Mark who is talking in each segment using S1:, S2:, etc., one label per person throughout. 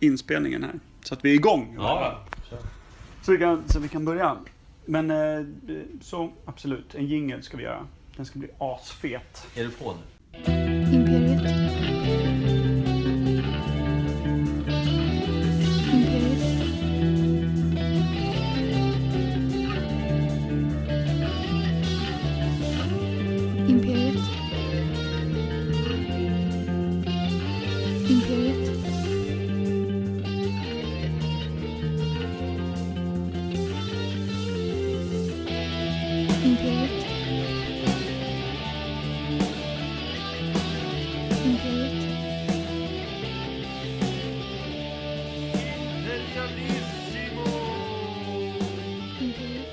S1: inspelningen här. Så att vi är igång.
S2: Ja,
S1: Så, vi kan, så vi kan börja. Men eh, så absolut, en jingle ska vi göra. Den ska bli asfet.
S2: är du på nu?
S3: Imperiet. Imperiet. Imperiet. Imperiet. Imperiet. Imperiet. Imperiet.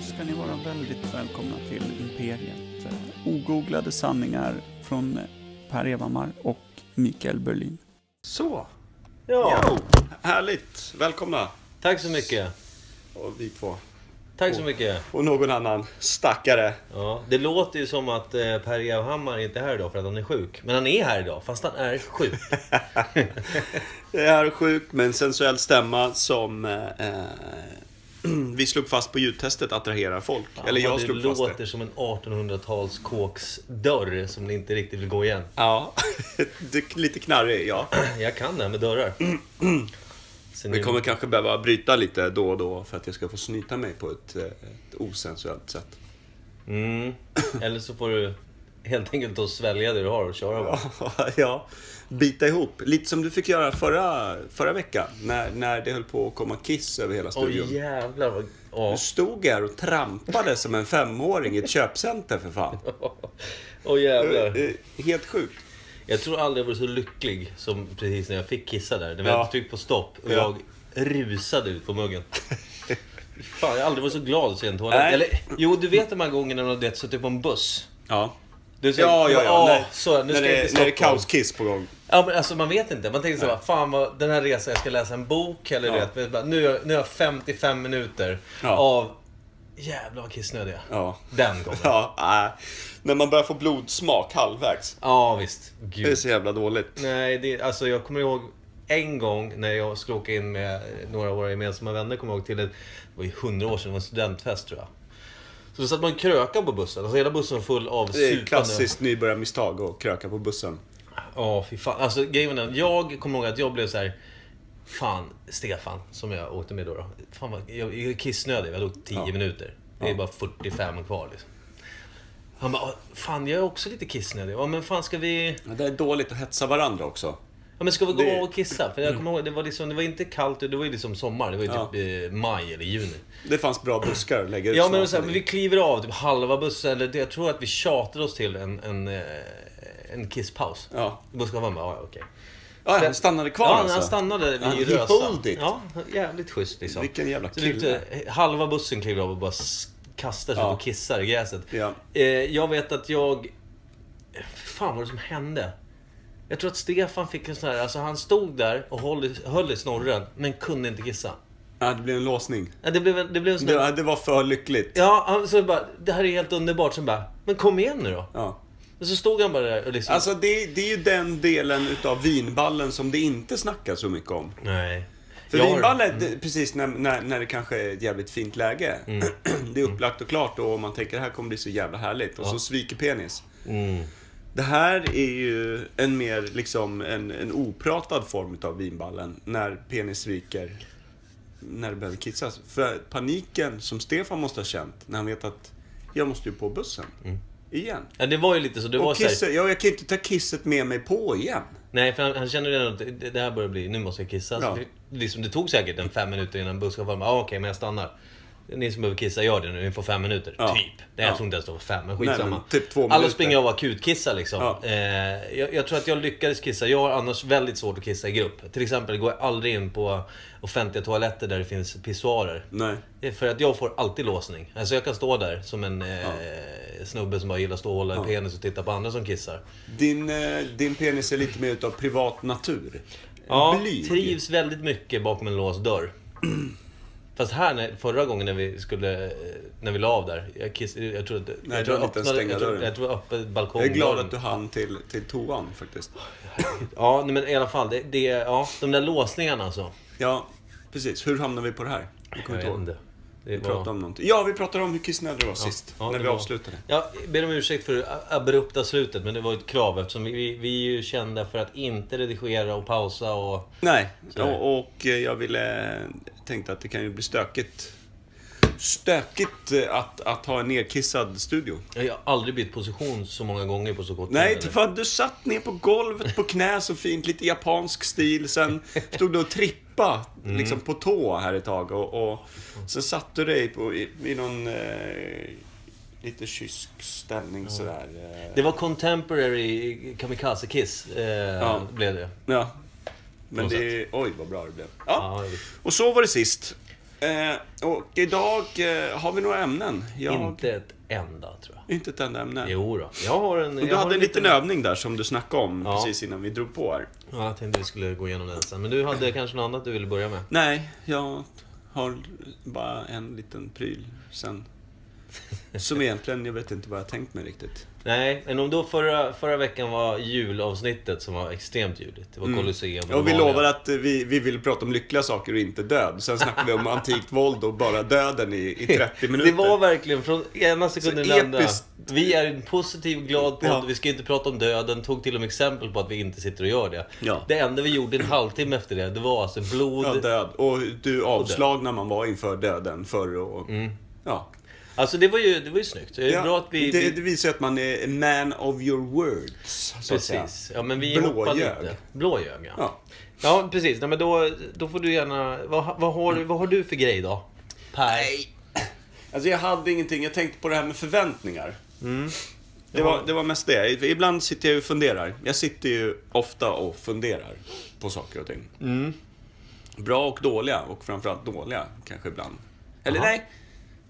S1: Då ska ni vara väldigt välkomna till Imperiet. Eh, Ogooglade sanningar från eh, Per Evhammar och Mikael Berlin. Så,
S2: Ja.
S1: jo, härligt. Välkomna.
S2: Tack så mycket.
S1: Och vi två.
S2: Tack så mycket.
S1: Och någon annan stackare.
S2: Ja, det låter ju som att eh, Per Evhammar inte är här idag för att han är sjuk. Men han är här idag, fast han är sjuk.
S1: Jag är sjuk med en sensuell stämma som eh, vi slog fast på ljudtestet attraherar folk.
S2: Fan, vad det låter som en 1800-tals kåksdörr som ni inte riktigt vill gå igen.
S4: Ja, det är lite knarrig, ja.
S2: Jag kan det här med dörrar. Så ni-
S4: Vi kommer kanske behöva bryta lite då och då för att jag ska få snyta mig på ett, eh, ett osensuellt sätt.
S2: mm. Eller så får du helt enkelt att svälja det du har och köra bara.
S4: ja, bita ihop. Lite som du fick göra förra, förra veckan när, när det höll på att komma kiss över hela
S2: Åh
S4: studion.
S2: jävlar vad... Ja.
S4: Du stod här och trampade som en femåring i ett köpcenter för fan.
S2: Åh jävlar.
S4: Eh, Helt sjukt.
S2: Jag tror aldrig jag varit så lycklig som precis när jag fick kissa där. Det var
S4: Ja.
S2: ett tryck på stopp och
S4: Ja.
S2: jag rusade ut på muggen. Fan, jag har aldrig varit så glad så i en toalett.
S4: Nej.
S2: Eller, jo, du vet de här gångerna när du vet, suttit på en buss.
S4: Ja.
S2: Du säger,
S4: Ja, ja, ja.
S2: "Åh,
S4: När-
S2: så, nu
S4: när,
S2: ska jag
S4: det,
S2: till
S4: när det är
S2: Stockholm."
S4: kaoskiss på gång.
S2: Ja, men alltså man vet inte. Man tänker så här, fan vad, den här resan, jag ska läsa en bok eller
S4: Ja.
S2: du vet. men bara, Nu, har- nu har jag 55 minuter
S4: Ja.
S2: av, jävlar vad kissnödig jag är.
S4: Ja.
S2: Den gången. Ja.
S4: Ja, nej. När man börjar få blodsmak halvvägs.
S2: visst. Gud.
S4: Det är så jävla dåligt.
S2: Nej, det, alltså jag kommer ihåg en gång när jag skulle åka in med några av våra gemensamma vänner, kommer jag ihåg till ett, det var ju hundra år sedan, det var en studentfest tror jag. Så då satt man och krökade på bussen, alltså hela bussen var full av
S4: Det är
S2: supande-
S4: klassiskt nybörjarmisstag att kröka på bussen.
S2: Ja, fy fan. Alltså grejen var den, jag kommer ihåg att jag blev så här. Fan, Stefan, som jag åkte med då. då. Fan vad, jag, jag är kissnödig, jag låg 10 minuter. Det är bara 45 kvar liksom. Han bara, "Ah, fan jag är också lite kissnödig. Ja men fan ska vi...
S4: det är dåligt att hetsa varandra också.
S2: Ja, men ska vi gå
S4: Det- Mm.
S2: och kissa? För jag kommer ihåg, det var, liksom, det var inte kallt, det var ju liksom sommar. Det var ju typ eh, maj eller juni.
S4: Det fanns bra buskar att lägga ut
S2: Ja, men,
S4: snart.
S2: så här, men vi kliver av typ halva bussen. Eller, det- jag tror att vi tjatade oss till en, en, eh, en kisspaus.
S4: Ja.
S2: Busschauffören bara, ja, ja, okej.
S4: ah, han stannade kvar
S2: Ja,
S4: alltså?
S2: han stannade
S4: Han- he
S2: vid Rösa.
S4: hold it.
S2: Ja, jävligt schysst liksom.
S4: Vilken jävla
S2: Så det är
S4: kille.
S2: inte- halva bussen kliver av och bara s- kastar sig
S4: Ja.
S2: och kissar i gräset.
S4: Ja.
S2: Eh, jag vet att jag... Fan vad var det som hände? Jag tror att Stefan fick en sån här... Alltså han stod där och höll, i- höll i snorren, men kunde inte kissa.
S4: Ja, det blev en låsning.
S2: Ja, Det blev, en- det blev en sån här...
S4: Det, det var för lyckligt.
S2: Ja, han så bara, det här är helt underbart. Sen bara, men kom igen nu då.
S4: Ja.
S2: Och så stod han bara där och liksom...
S4: Alltså det, det är ju den delen utav vinballen som det inte snackas så mycket om.
S2: Nej.
S4: För
S2: Jag har-
S4: vinballen,
S2: Mm.
S4: det- precis när, när, när det kanske är ett jävligt fint läge. Det är upplagt och klart och man tänker det här kommer bli så jävla härligt. Och så sviker penis.
S2: Mm.
S4: Det här är ju en mer liksom en, en opratad form av vinballen. När penis sviker. När det behöver kissas. För paniken som Stefan måste ha känt när han vet att jag måste ju på bussen. Igen.
S2: Ja, det var ju lite så. Mm. Det var
S4: Och
S2: så här-
S4: kisset, ja, jag kan ju inte ta kisset med mig på igen.
S2: Nej, för han, han kände redan att det det här börjar bli, nu måste jag kissa.
S4: Ja.
S2: Så det, liksom, det tog säkert en fem minuter innan busschauffören bara, ah, okej, men jag stannar. Ni som behöver kissa, gör det nu. Ni får fem minuter.
S4: Ja.
S2: Typ. Nej, jag
S4: Ja.
S2: tror inte ens det var fem, men
S4: Nej,
S2: skitsamma.
S4: men typ två
S2: Alla
S4: minuter.
S2: springer av och akutkissar liksom.
S4: Ja.
S2: Eh, jag, jag tror att jag lyckades kissa. Jag har annars väldigt svårt att kissa i grupp. Till exempel går jag aldrig in på offentliga toaletter där det finns pissoarer.
S4: Nej.
S2: Det är För att jag får alltid låsning. Alltså jag kan stå där som en eh, snubbe som bara gillar att stå och hålla i penis och titta på andra som kissar.
S4: Din, eh, din penis är lite mer utav privat natur.
S2: Ja,
S4: Blyg.
S2: trivs väldigt mycket bakom en låst dörr. Fast Fast här, när, förra gången när vi skulle, eh, när vi la av där. Jag, kiss, jag tror att...
S4: Nej,
S2: jag
S4: du
S2: tror
S4: har
S2: jag
S4: inte ens
S2: öppnade-
S4: stänga
S2: jag tror,
S4: dörren.
S2: jag tror jag öppnade
S4: Jag är
S2: balkongdörren.
S4: glad att du hann till, till toan faktiskt.
S2: Ja, nej, men i alla fall. Det, det, ja, de där låsningarna alltså.
S4: Ja, precis. Hur hamnar vi på det här? Jag kommer
S2: Jag vet
S4: inte ihåg.
S2: inte. Det
S4: Vi
S2: var-
S4: pratade om någonting. Ja, vi pratade om hur kissnödig var sist.
S2: ja,
S4: när
S2: det
S4: vi
S2: var-
S4: avslutade.
S2: Jag ber om ursäkt för det abrupta slutet, men det var ett krav eftersom vi, vi, vi är ju kända för att inte redigera och pausa och...
S4: Nej,
S2: Så här.
S4: och, och eh, jag ville... Tänkte att det kan ju bli stökigt. Stökigt eh, att, att ha en nerkissad studio.
S2: Jag har aldrig bytt position så många gånger på så kort
S4: Nej,
S2: tid.
S4: för att du satt ner på golvet på knä så fint, lite japansk stil. Sen stod du och trippa
S2: Mm.
S4: liksom på tå här ett tag. Och, och sen satt du dig på, i, i någon eh, lite kysk ställning sådär. Eh,
S2: Det var contemporary kamikaze kiss, eh, blev det.
S4: ja. Men
S2: något
S4: det... Oj, vad bra det blev.
S2: Ja,
S4: Ja.
S2: jag vet.
S4: Och så var det sist. Eh, och idag eh, har vi några ämnen. Jag, inte.
S2: Inte ett enda, tror jag.
S4: ett enda ämne.
S2: Jo då. Jag har en...
S4: Och
S2: Jag
S4: du
S2: har
S4: hade en liten övning där som du snackade om
S2: Ja.
S4: precis innan vi drog på här.
S2: Ja, jag tänkte vi skulle gå igenom den sen. Men du hade kanske något annat du ville börja med?
S4: Nej, jag har bara en liten pryl sen. Som egentligen, jag vet inte vad jag tänkt mig riktigt.
S2: Nej, men om då förra, förra veckan var julavsnittet som var extremt juligt. Det var Colosseum
S4: Och Mm. vi
S2: Romania.
S4: lovar att vi, vi vill prata om lyckliga saker och inte död. Sen snackar vi om antikt våld och bara döden i, i 30 minuter.
S2: Det var verkligen från ena sekunden till
S4: Så
S2: andra.
S4: episkt.
S2: Vi är en positiv, glad podd.
S4: Ja.
S2: Vi ska inte prata om döden. Tog till och med exempel på att vi inte sitter och gör det.
S4: Ja.
S2: Det enda vi gjorde en halvtimme efter det, det var alltså blod.
S4: ja, död. Och du avslag när man var inför döden förr och...
S2: Mm.
S4: Ja.
S2: alltså det var ju, det var ju snyggt. Det är
S4: ja.
S2: bra att vi...
S4: det,
S2: vi
S4: det visar ju att man är man of your words. Så att säga.
S2: precis. Ja, men vi
S4: Blåljög.
S2: hoppade lite. Blåljög, ja. ja.
S4: Ja.
S2: precis. Nej, men då, då får du gärna... Vad, vad, har, vad har du för grej då? Per?
S4: Alltså jag hade ingenting. Jag tänkte på det här med förväntningar.
S2: Mm.
S4: Det, var, det var mest det. Ibland sitter jag ju och funderar. Jag sitter ju ofta och funderar på saker och ting.
S2: Mm.
S4: Bra och dåliga och framförallt dåliga kanske ibland. Eller
S2: Aha.
S4: nej,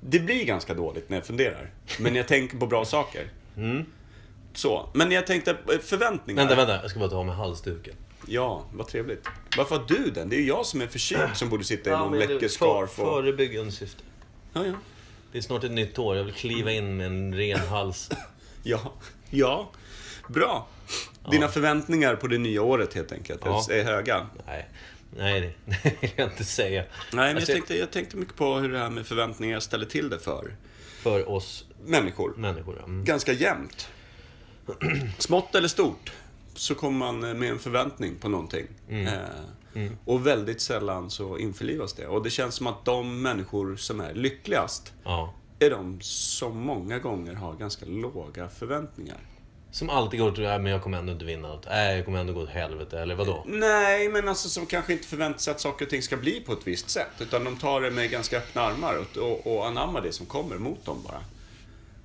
S4: det blir ganska dåligt när jag funderar. Men jag tänker på bra saker. Så, men jag tänkte eh, förväntningar.
S2: Mm. Vänta, vänta. Jag ska bara ta av mig halsduken.
S4: Ja, vad trevligt. Varför har du den? Det är ju jag som är förkyld som borde sitta i någon
S2: men du,
S4: läcker
S2: för,
S4: scarf och...
S2: Förebyggande syfte.
S4: Ja, ja.
S2: Det är snart ett nytt år. Jag vill kliva in med en ren hals.
S4: Ja, ja. Bra. Dina förväntningar på det nya året helt enkelt
S2: Ja.
S4: är höga.
S2: Nej, nej, det- nej, det vill jag inte säga.
S4: Nej, men jag
S2: Alltså,
S4: tänkte, jag tänkte mycket på hur det här med förväntningar ställer till det för
S2: För oss
S4: människor.
S2: människor. ja. Mm.
S4: Ganska jämnt. Smått eller stort så kommer man eh, med en förväntning på någonting.
S2: Mm.
S4: Eh, Och väldigt sällan så införlivas det. Och det känns som att de människor som är lyckligast
S2: Ja.
S4: är de som många gånger har ganska låga förväntningar.
S2: Som alltid går till, "Nej, men jag kommer ändå inte vinna något. Nej, jag kommer ändå gå åt helvete. Eller vadå?
S4: Nej, men alltså som kanske inte förväntar sig att saker och ting ska bli på ett visst sätt. Utan de tar det med ganska öppna armar och, och, och anammar det som kommer mot dem bara.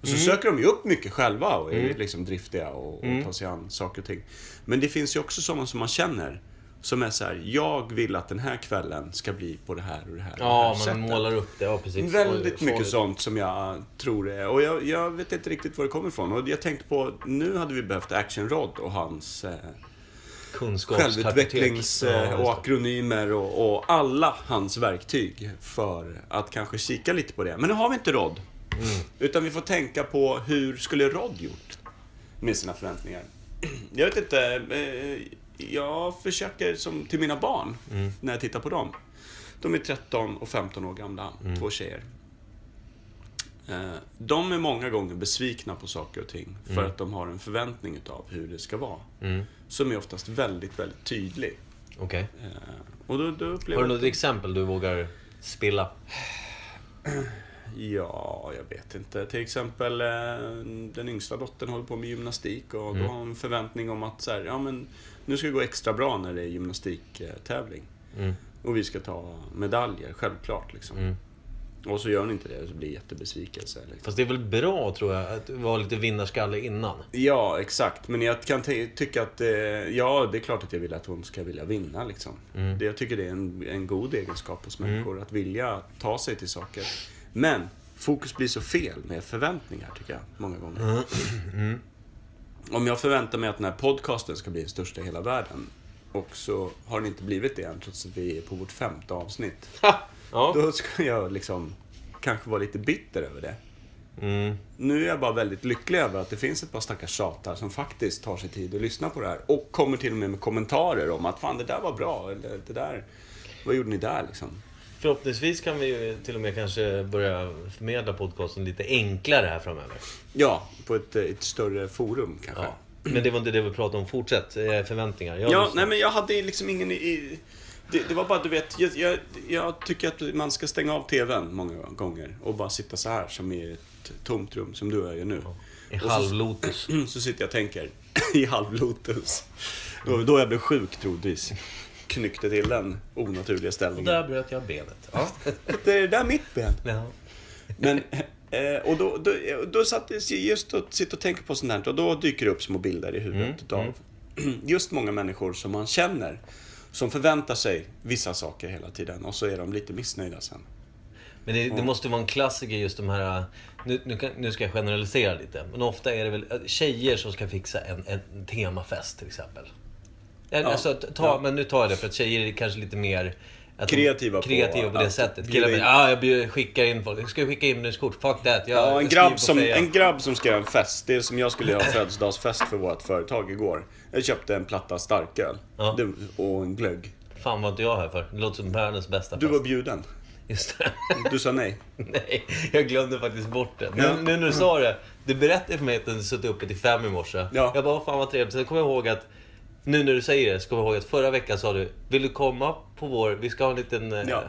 S4: Och så söker de ju upp mycket själva och är liksom driftiga och, och tar sig an saker och ting. Men det finns ju också sådana som man känner. Som är så här, jag vill att den här kvällen ska bli på det här och det här, och det här
S2: Ja, man målar upp det. Ja, precis.
S4: Väldigt
S2: Oj,
S4: mycket
S2: oj.
S4: sånt som jag eh, tror det är. Och jag, jag vet inte riktigt var det kommer ifrån. Och jag tänkte på, nu hade vi behövt Action Rod och hans eh,
S2: Kunskapskartotek.
S4: självutvecklings
S2: Ja,
S4: eh,
S2: just
S4: och
S2: det.
S4: akronymer och, och alla hans verktyg för att kanske kika lite på det. Men nu har vi inte Rod. Utan vi får tänka på hur skulle Rod gjort med sina förväntningar. Jag vet inte, eh, jag försöker som till mina barn när jag tittar på dem. De är 13 och 15 år gamla, två tjejer. Eh, De är många gånger besvikna på saker och ting för att de har en förväntning utav hur det ska vara. Som är oftast väldigt, väldigt tydlig.
S2: Mm, Okej.
S4: Eh, Och då, då upplever
S2: Har du
S4: jag-
S2: något exempel du vågar spilla?
S4: Ja, jag vet inte. Till exempel eh, den yngsta dottern håller på med gymnastik och
S2: Mm.
S4: då har hon en förväntning om att så här, ja, men nu ska det gå extra bra när det är gymnastiktävling.
S2: Mm.
S4: Och vi ska ta medaljer, självklart. Liksom.
S2: Mm.
S4: Och så gör hon inte det och så blir det jättebesvikelse. Liksom.
S2: Fast det är väl bra, tror jag, att vara lite vinnarskalle innan?
S4: Ja, exakt. Men jag kan ty- tycka att, eh, ja, det är klart att jag vill att hon ska vilja vinna. Liksom. Det, jag tycker det är en, en god egenskap hos människor, att vilja ta sig till saker. Men fokus blir så fel med förväntningar, tycker jag, många gånger. Om jag förväntar mig att den här podcasten ska bli den största i hela världen, och så har den inte blivit det än, trots att vi är på vårt femte avsnitt.
S2: Ha! Ja.
S4: Då skulle jag liksom kanske vara lite bitter över det.
S2: Mm.
S4: Nu är jag bara väldigt lycklig över att det finns ett par stackars tjatar som faktiskt tar sig tid att lyssna på det här. Och kommer till och med med kommentarer om att fan, det där var bra, eller det där, vad gjorde ni där liksom?
S2: Förhoppningsvis kan vi ju till och med kanske börja förmedla podcasten lite enklare här framöver.
S4: Ja, på ett, eh, ett större forum kanske.
S2: Ja.
S4: Ja,
S2: Men det var inte det vi pratade om. Fortsätt. eh, Förväntningar. Jag lyssnar.
S4: nej men jag hade liksom ingen i- i... Det, det var bara, du vet, jag, jag, jag tycker att man ska stänga av TVn många gånger och bara sitta så här som i ett tomt rum som du och jag gör nu.
S2: I
S4: Och så-
S2: halvlotus.
S4: Mm, Så sitter jag och tänker i halv lotus. Då, då jag blev sjuk troligtvis. Knyckte till den onaturliga
S2: Och
S4: ställningen.
S2: där bröt jag benet. Ja.
S4: Det är det där mitt ben.
S2: ja.
S4: Men, eh, och då, då, då satt jag just och sitter och tänker på sånt här och då dyker det upp små bilder i
S2: Mm,
S4: huvudet av just många människor som man känner. Som förväntar sig vissa saker hela tiden och så är de lite missnöjda sen.
S2: Men det,
S4: Mm.
S2: det måste vara en klassiker just de här... Nu, nu, kan- nu ska jag generalisera lite. Men ofta är det väl eh, tjejer som ska fixa en, en temafest till exempel. En,
S4: Ja.
S2: Alltså, ta,
S4: Ja.
S2: Men nu tar jag det för att tjejer är kanske lite mer... Att de-
S4: Kreativa på
S2: kreativa på det
S4: att
S2: sättet.
S4: bjuda
S2: Killar
S4: in.
S2: bara, ah, jag bjud- skickar in folk. Jag ska skicka in minuskort. Fuck that. Jag,
S4: Ja, en
S2: jag
S4: grabb,
S2: skriver på
S4: som,
S2: fejan."
S4: en grabb som ska göra en fest. Det är som jag skulle göra en födelsedagsfest för vårt företag igår. Jag köpte en platta starköl
S2: Ja.
S4: Du- och en glögg.
S2: Fan vad inte jag här för. Det låter som världens bästa
S4: Du var
S2: fest.
S4: bjuden.
S2: Just det.
S4: Du sa nej.
S2: Nej, jag glömde faktiskt bort det. Nu,
S4: Ja.
S2: nu när du sa det, du berättade för mig att du hade suttit uppe till fem i morse.
S4: Ja.
S2: Jag bara, fan vad trevligt. Sen kom jag ihåg att, nu när du säger det, så kommer jag ihåg att förra veckan sa du, vill du komma på vår, vi ska ha en liten... eh,
S4: Ja.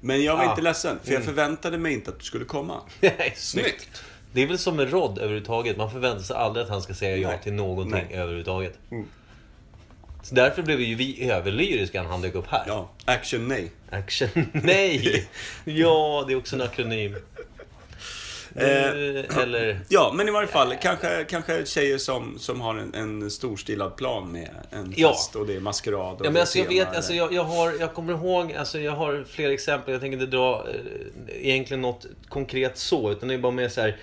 S4: Men jag var
S2: Ah.
S4: inte ledsen, för jag
S2: Mm.
S4: förväntade mig inte att du skulle komma.
S2: Nej, snyggt. Det är väl som en rodd överhuvudtaget. Man förväntar sig aldrig att han ska säga ja
S4: Nej.
S2: till någonting
S4: Nej. Mm.
S2: överhuvudtaget. Så därför blev ju vi överlyriska när han dök upp här.
S4: Ja, action nej.
S2: Action. Nej! Ja, det är också en akronym. Du, eller...
S4: Eh, Ja, men i varje fall, kanske, kanske tjejer som, som har en, en storstilad plan med en
S2: Ja.
S4: fest och det är maskerad och
S2: Ja,
S4: det
S2: men
S4: är
S2: alltså, jag
S4: tema
S2: vet, alltså, jag, jag, har, jag kommer ihåg, alltså, jag har fler exempel. Jag tänker inte dra eh, egentligen något konkret så, utan det är bara mer så här.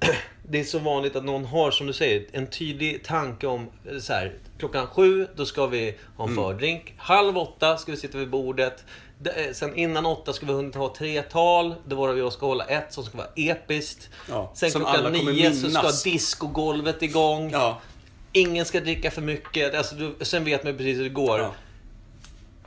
S2: Det är så vanligt att någon har, som du säger, en tydlig tanke om eh, så här, klockan sju, då ska vi ha en
S4: Mm.
S2: fördrink. Halv åtta ska vi sitta vid bordet. D- eh, Sen innan åtta ska vi ha hunnit ha tre tal. Det var jag ska hålla ett som ska vara episkt.
S4: Ja,
S2: Sen
S4: som
S2: klockan
S4: alla kommer
S2: nio så ska
S4: minnas.
S2: discogolvet igång.
S4: Ja,
S2: Ingen ska dricka för mycket. Alltså, du, sen vet man ju precis hur det går.
S4: ja.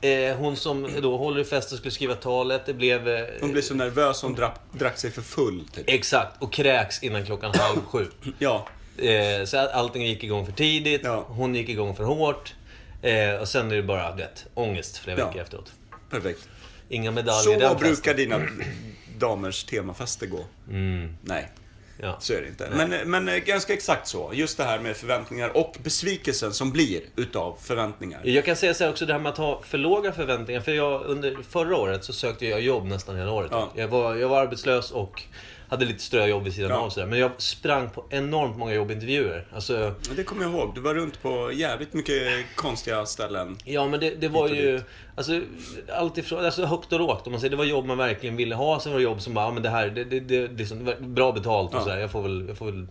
S2: Eh, hon som då håller i festen skulle skriva talet. Det blev... Eh,
S4: Hon blir så nervös hon drack, drack sig för full. Typ.
S2: Exakt, och kräks innan klockan halv sju.
S4: Ja,
S2: Eh, så att allting gick igång för tidigt,
S4: Ja.
S2: hon gick igång för hårt. Eh, och sen är det bara du vet, ångest flera
S4: Ja.
S2: veckor efteråt.
S4: perfekt.
S2: Inga medaljer i
S4: Så
S2: den
S4: brukar
S2: festen. Mm.
S4: dina damers temafester gå. Nej,
S2: Ja.
S4: så är det inte. Men, men eh, ganska exakt så. Just det här med förväntningar och besvikelsen som blir utav förväntningar.
S2: Jag kan säga så här också, det här med att ha för låga förväntningar. För jag, under förra året så sökte jag jobb nästan hela året.
S4: Ja.
S2: Jag, var, jag var arbetslös och hade lite ströjobb vid sidan
S4: Ja.
S2: av. Så där. Men jag sprang på enormt många jobbintervjuer. Alltså,
S4: Ja, Det kommer jag ihåg. Du var runt på jävligt mycket konstiga ställen.
S2: Ja men det, det var ju alltså, allt ifrån, alltså högt och lågt. Om man säger, det var jobb man verkligen ville ha. Sen var det jobb som bara, ja, men det här, det, det, det, det är som- bra betalt och
S4: Ja.
S2: sådär. Jag får väl, jag får väl,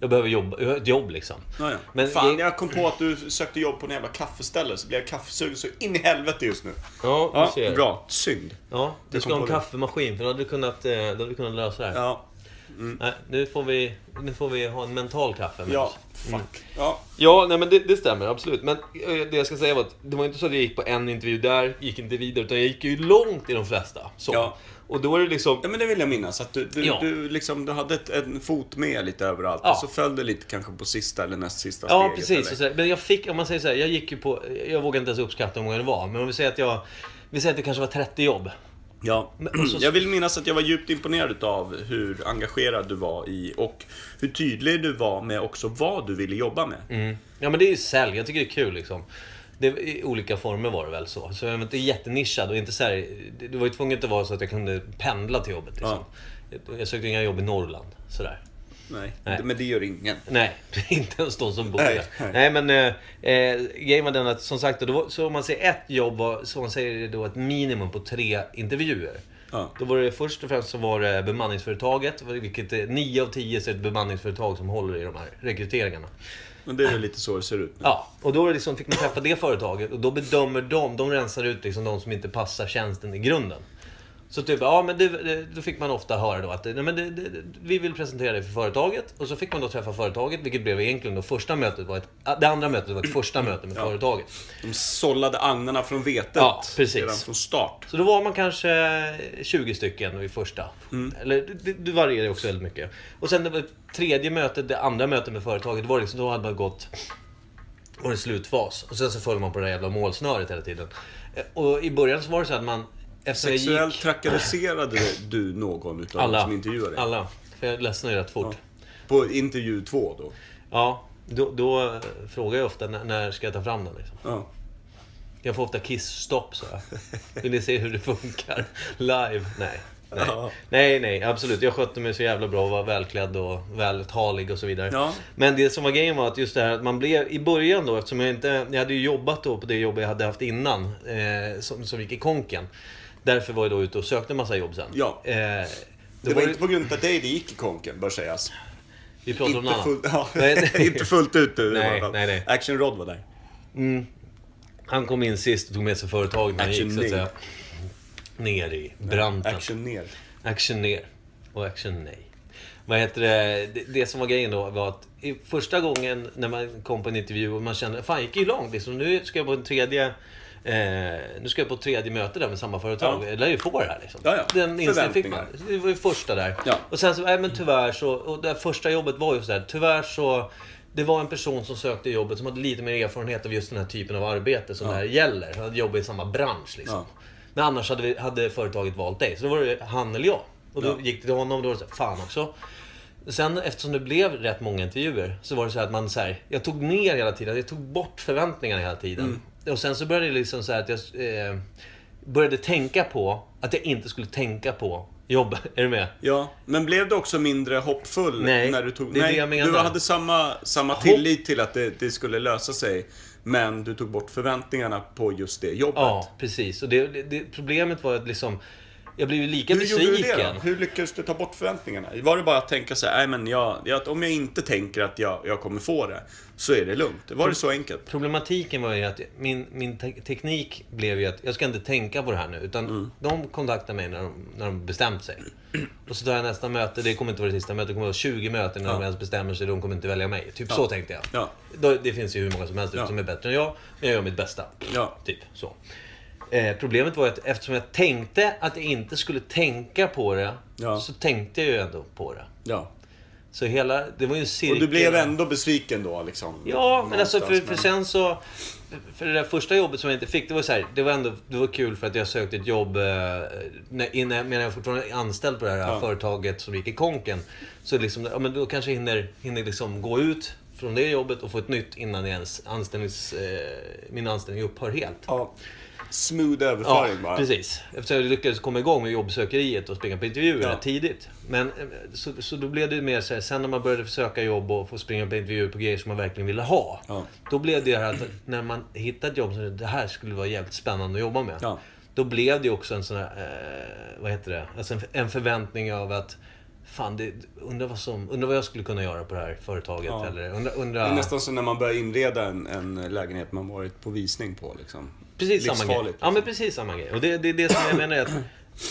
S2: jag behöver jobb, jag har ett jobb liksom.
S4: Ja, ja.
S2: Men
S4: Fan,
S2: jag-
S4: jag kom på att du sökte jobb på en jävla kaffeställe så blev jag kaffesugen så in i helvete just nu.
S2: Ja, du ser.
S4: bra. Synd.
S2: Ja, du
S4: Jag
S2: ska
S4: kom
S2: ha en
S4: på det.
S2: kaffemaskin för då hade du kunnat, eh, då hade vi kunnat lösa det här. Mm.
S4: Ja,
S2: Nej, nu, får vi, nu får vi ha en mental kaffe med
S4: ja,
S2: oss. Mm.
S4: fuck. Ja,
S2: Ja, nej men det, det stämmer absolut. Men eh, det jag ska säga var att det var inte så att jag gick på en intervju där, gick inte vidare. Utan jag gick ju långt i de flesta. Så.
S4: Ja.
S2: Och då är det liksom...
S4: ja, men det vill jag minnas. Att du, du,
S2: Ja.
S4: du, liksom, du hade ett, en fot med lite överallt
S2: Ja.
S4: och så föll du lite kanske på sista eller näst sista
S2: Ja,
S4: steget.
S2: precis.
S4: eller?
S2: Och sådär. Men jag fick, om man säger så här, jag gick ju på, jag vågar inte ens uppskatta hur många det var. Men om vi säger att jag, vi säger att det kanske var 30 jobb.
S4: Ja.
S2: Men- alltså, och så-
S4: Jag vill minnas att jag var djupt imponerad av hur engagerad du var i och hur tydlig du var med också vad du ville jobba med.
S2: Mm. Ja men det är ju sälj, jag tycker det är kul liksom. Det, I olika former var det väl så. Så jag var inte jättenischad och inte så här, det, det var ju tvunget att vara så att jag kunde pendla till jobbet liksom. Jag sökte inga jobb i Norrland, sådär.
S4: Nej.
S2: Nej.
S4: men det gör ingen.
S2: Nej, inte ens de som bor
S4: Nej,
S2: där.
S4: nej.
S2: Nej, men eh, eh, grejen var den att som sagt, då, var- så om man säger ett jobb var, så man säger det då ett minimum på tre intervjuer.
S4: Ja.
S2: Då var det först och främst så var det bemanningsföretaget, vilket är 9 av 10 så är det ett bemanningsföretag som håller i de här rekryteringarna.
S4: Men det är väl lite så det ser ut nu.
S2: Ja, och då är det liksom, fick man träffa det företaget och då bedömer de, de rensar ut liksom de som inte passar tjänsten i grunden. Så typ, ja men du, då fick man ofta höra då att nej, men det, det, vi vill presentera dig för företaget. Och så fick man då träffa företaget, vilket blev egentligen då första mötet. Var ett, det andra mötet var ett första möte med företaget.
S4: De sållade agnarna från vetet
S2: Ja, precis.
S4: redan från start.
S2: Så då var man kanske 20 stycken i första.
S4: Mm.
S2: Eller det, det varierar ju också väldigt mycket. Och sen det var tredje mötet, det andra mötet med företaget, var det liksom, då hade man gått... Var det slutfas. Och sen så följde man på det här jävla målsnöret hela tiden. Eh, Och i början så var det så att man... Eftersom jag
S4: Sexuellt
S2: gick...
S4: trakasserade du någon utav alla.
S2: Alla.
S4: som intervjuade dig?
S2: Alla. För jag ledsnade ju rätt fort.
S4: På intervju två då?
S2: Ja. då, då eh, frågar jag ofta när, när ska jag ta fram den liksom.
S4: Ja.
S2: Jag får ofta kissstopp så jag. Vill ni se hur det funkar? Live? Nej. Nej.
S4: Ja.
S2: nej, nej, absolut. Jag skötte mig så jävla bra och var välklädd och vältalig och så vidare.
S4: Ja.
S2: Men det som var grejen var att just det här att man blev, i början då, eftersom jag inte, jag hade ju jobbat då på det jobb jag hade haft innan, eh, som, som gick i konken. Därför var jag då ute och sökte massa jobb sen.
S4: Ja.
S2: Eh,
S4: Det,
S2: då
S4: var, inte på grund av dig det gick i konken, bör sägas.
S2: Vi pratar om något
S4: Inte,
S2: annat.
S4: full, ja,
S2: Nej, nej.
S4: inte fullt ut du i
S2: Nej,
S4: alla fall.
S2: nej, nej.
S4: Action Rod var där.
S2: Han kom in sist och tog med sig företaget när han
S4: Action
S2: gick så att
S4: ner.
S2: säga. Ner i branten.
S4: Action ner.
S2: Action ner och action nej. Vad heter det? det? Det som var grejen då var att i första gången när man kom på en intervju och man kände fan jag gick ju långt liksom. Nu ska jag på en tredje eh, nu ska jag på ett tredje möte där med samma företag.
S4: Ja.
S2: Jag lär ju få det här liksom.
S4: Ja, ja.
S2: Den inställningen fick man.
S4: Förväntningar.
S2: Det var ju första där.
S4: Ja.
S2: Och sen så, nej men tyvärr så, och det här första jobbet var ju sådär, tyvärr så det var en person som sökte jobbet som hade lite mer erfarenhet av just den här typen av arbete som det här gäller. Han hade jobbat i samma bransch liksom.
S4: Ja.
S2: Men annars hade, vi, hade företaget valt dig. Så då var det han eller jag. Och då
S4: Ja.
S2: gick det till honom och då var det så här, fan också. Sen eftersom det blev rätt många intervjuer så var det så här att man så här, jag tog ner hela tiden, jag tog bort förväntningarna hela tiden.
S4: Mm.
S2: Och sen så började det liksom så här att jag eh, började tänka på att jag inte skulle tänka på jobb. Är du med?
S4: Ja, men blev du också mindre hoppfull
S2: Nej,
S4: när du tog...
S2: det är det jag menar.
S4: Du hade samma, samma tillit till att det, det skulle lösa sig, men du tog bort förväntningarna på just det jobbet.
S2: Ja, precis. Och det, det, det, problemet var att liksom, jag blev ju lika
S4: Hur gjorde
S2: besviken.
S4: du det då? Hur lyckades du ta bort förväntningarna? Var det bara att tänka så här, "Nej, men jag, jag, om jag inte tänker att jag, jag kommer få det, så är det lugnt. Var det så enkelt?
S2: Problematiken var ju att min, min te- teknik blev ju att jag ska inte tänka på det här nu. Utan
S4: Mm.
S2: de kontaktar mig när de, när de bestämt sig. Och så tar jag nästa möte. Det kommer inte vara det sista mötet. Det kommer vara 20 möten när de ens bestämmer sig. De kommer inte välja mig. Typ så tänkte jag.
S4: Ja.
S2: Då, det finns ju hur många som helst som är bättre än jag. Men jag gör mitt bästa.
S4: Ja.
S2: Typ så. Eh, problemet var ju att eftersom jag tänkte att jag inte skulle tänka på det.
S4: Ja.
S2: Så tänkte jag ju ändå på det.
S4: Ja.
S2: Så hela, det var ju en cirkel.
S4: Och du blev ändå besviken då liksom?
S2: Ja, men alltså för,
S4: någonstans,
S2: för sen
S4: men-
S2: så... För det där första jobbet som jag inte fick, det var så här, det var ändå det var kul för att jag sökte ett jobb eh, när, innan, medan jag fortfarande är anställd på det här företaget som gick i konken. Så liksom, ja men då kanske jag hinner, hinner liksom gå ut från det jobbet och få ett nytt innan jag ens anställnings, eh, min anställning upphör helt.
S4: Ja. Smooth
S2: Ja,
S4: överföring bara.
S2: precis. Eftersom jag lyckades komma igång med jobbsökeriet och springa på intervjuer
S4: Ja.
S2: tidigt. Men eh, så, så då blev det mer så här, sen när man började söka jobb och få springa på intervjuer på grejer som man verkligen ville ha.
S4: Ja.
S2: Då blev det här att när man hittade ett jobb som det här skulle vara jävligt spännande att jobba med.
S4: Ja.
S2: Då blev det ju också en sån här, eh, vad heter det, alltså en, en förväntning av att Fan, det, undrar, vad som, undrar vad jag skulle kunna göra på det här företaget.
S4: Ja.
S2: Eller, undra,
S4: Det
S2: undra...
S4: är nästan som när man börjar inreda en, en lägenhet man varit på visning på liksom.
S2: Precis samma grej.
S4: Livsfarligt. liksom.
S2: Ja, men precis samma grej. Och det, det är det som jag menar är att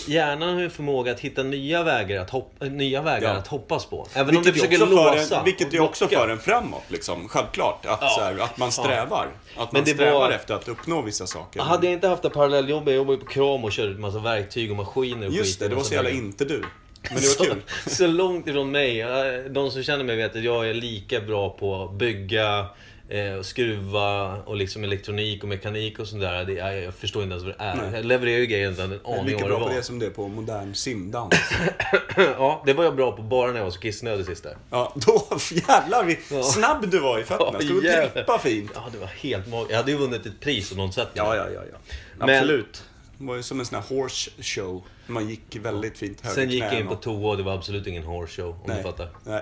S2: hjärnan har ju en förmåga att hitta nya vägar att, hopp, äh, nya vägar
S4: Ja.
S2: att hoppas på. Även om du
S4: Vilket, ju
S2: försöker
S4: också för
S2: låsa.
S4: en, vilket ju
S2: och
S4: också
S2: blocka.
S4: för en framåt liksom. Självklart. Att,
S2: Ja,
S4: så här, att
S2: fan.
S4: man strävar. Att
S2: Men
S4: man
S2: det
S4: strävar
S2: var-
S4: efter att uppnå vissa saker.
S2: Hade jag inte haft det parallelljobbet, jag jobbade ju på Kram och körde en massa verktyg och maskiner och skit
S4: Just det, det
S2: och
S4: var
S2: sånt
S4: så jävla
S2: där.
S4: inte du. Men det var kul.
S2: Så, så långt ifrån mig. Eh, De som känner mig vet att jag är lika bra på att bygga, eh, och skruva och liksom elektronik och mekanik och sånt där. Det, jag, jag förstår inte ens vad det är. Jag levererar ju grejer utan en aning
S4: Lika
S2: om vad det
S4: bra på
S2: var.
S4: det som det är på modern simdans.
S2: ja, det var jag bra på bara när jag var så kissnödig sist där.
S4: Ja, då jävlar vi, snabb du var i fötterna. Stod och
S2: jävlar.
S4: grippa fint.
S2: Ja, det var helt magiskt. Jag hade ju vunnit ett pris om någon sett mig.
S4: Ja, ja, ja. ja.
S2: Men-
S4: Absolut. Det var ju som en sån här horse show. Man gick väldigt fint höger
S2: Sen gick jag in på
S4: knäna.
S2: toa och det var absolut ingen horse show, om du fattar.
S4: Nej.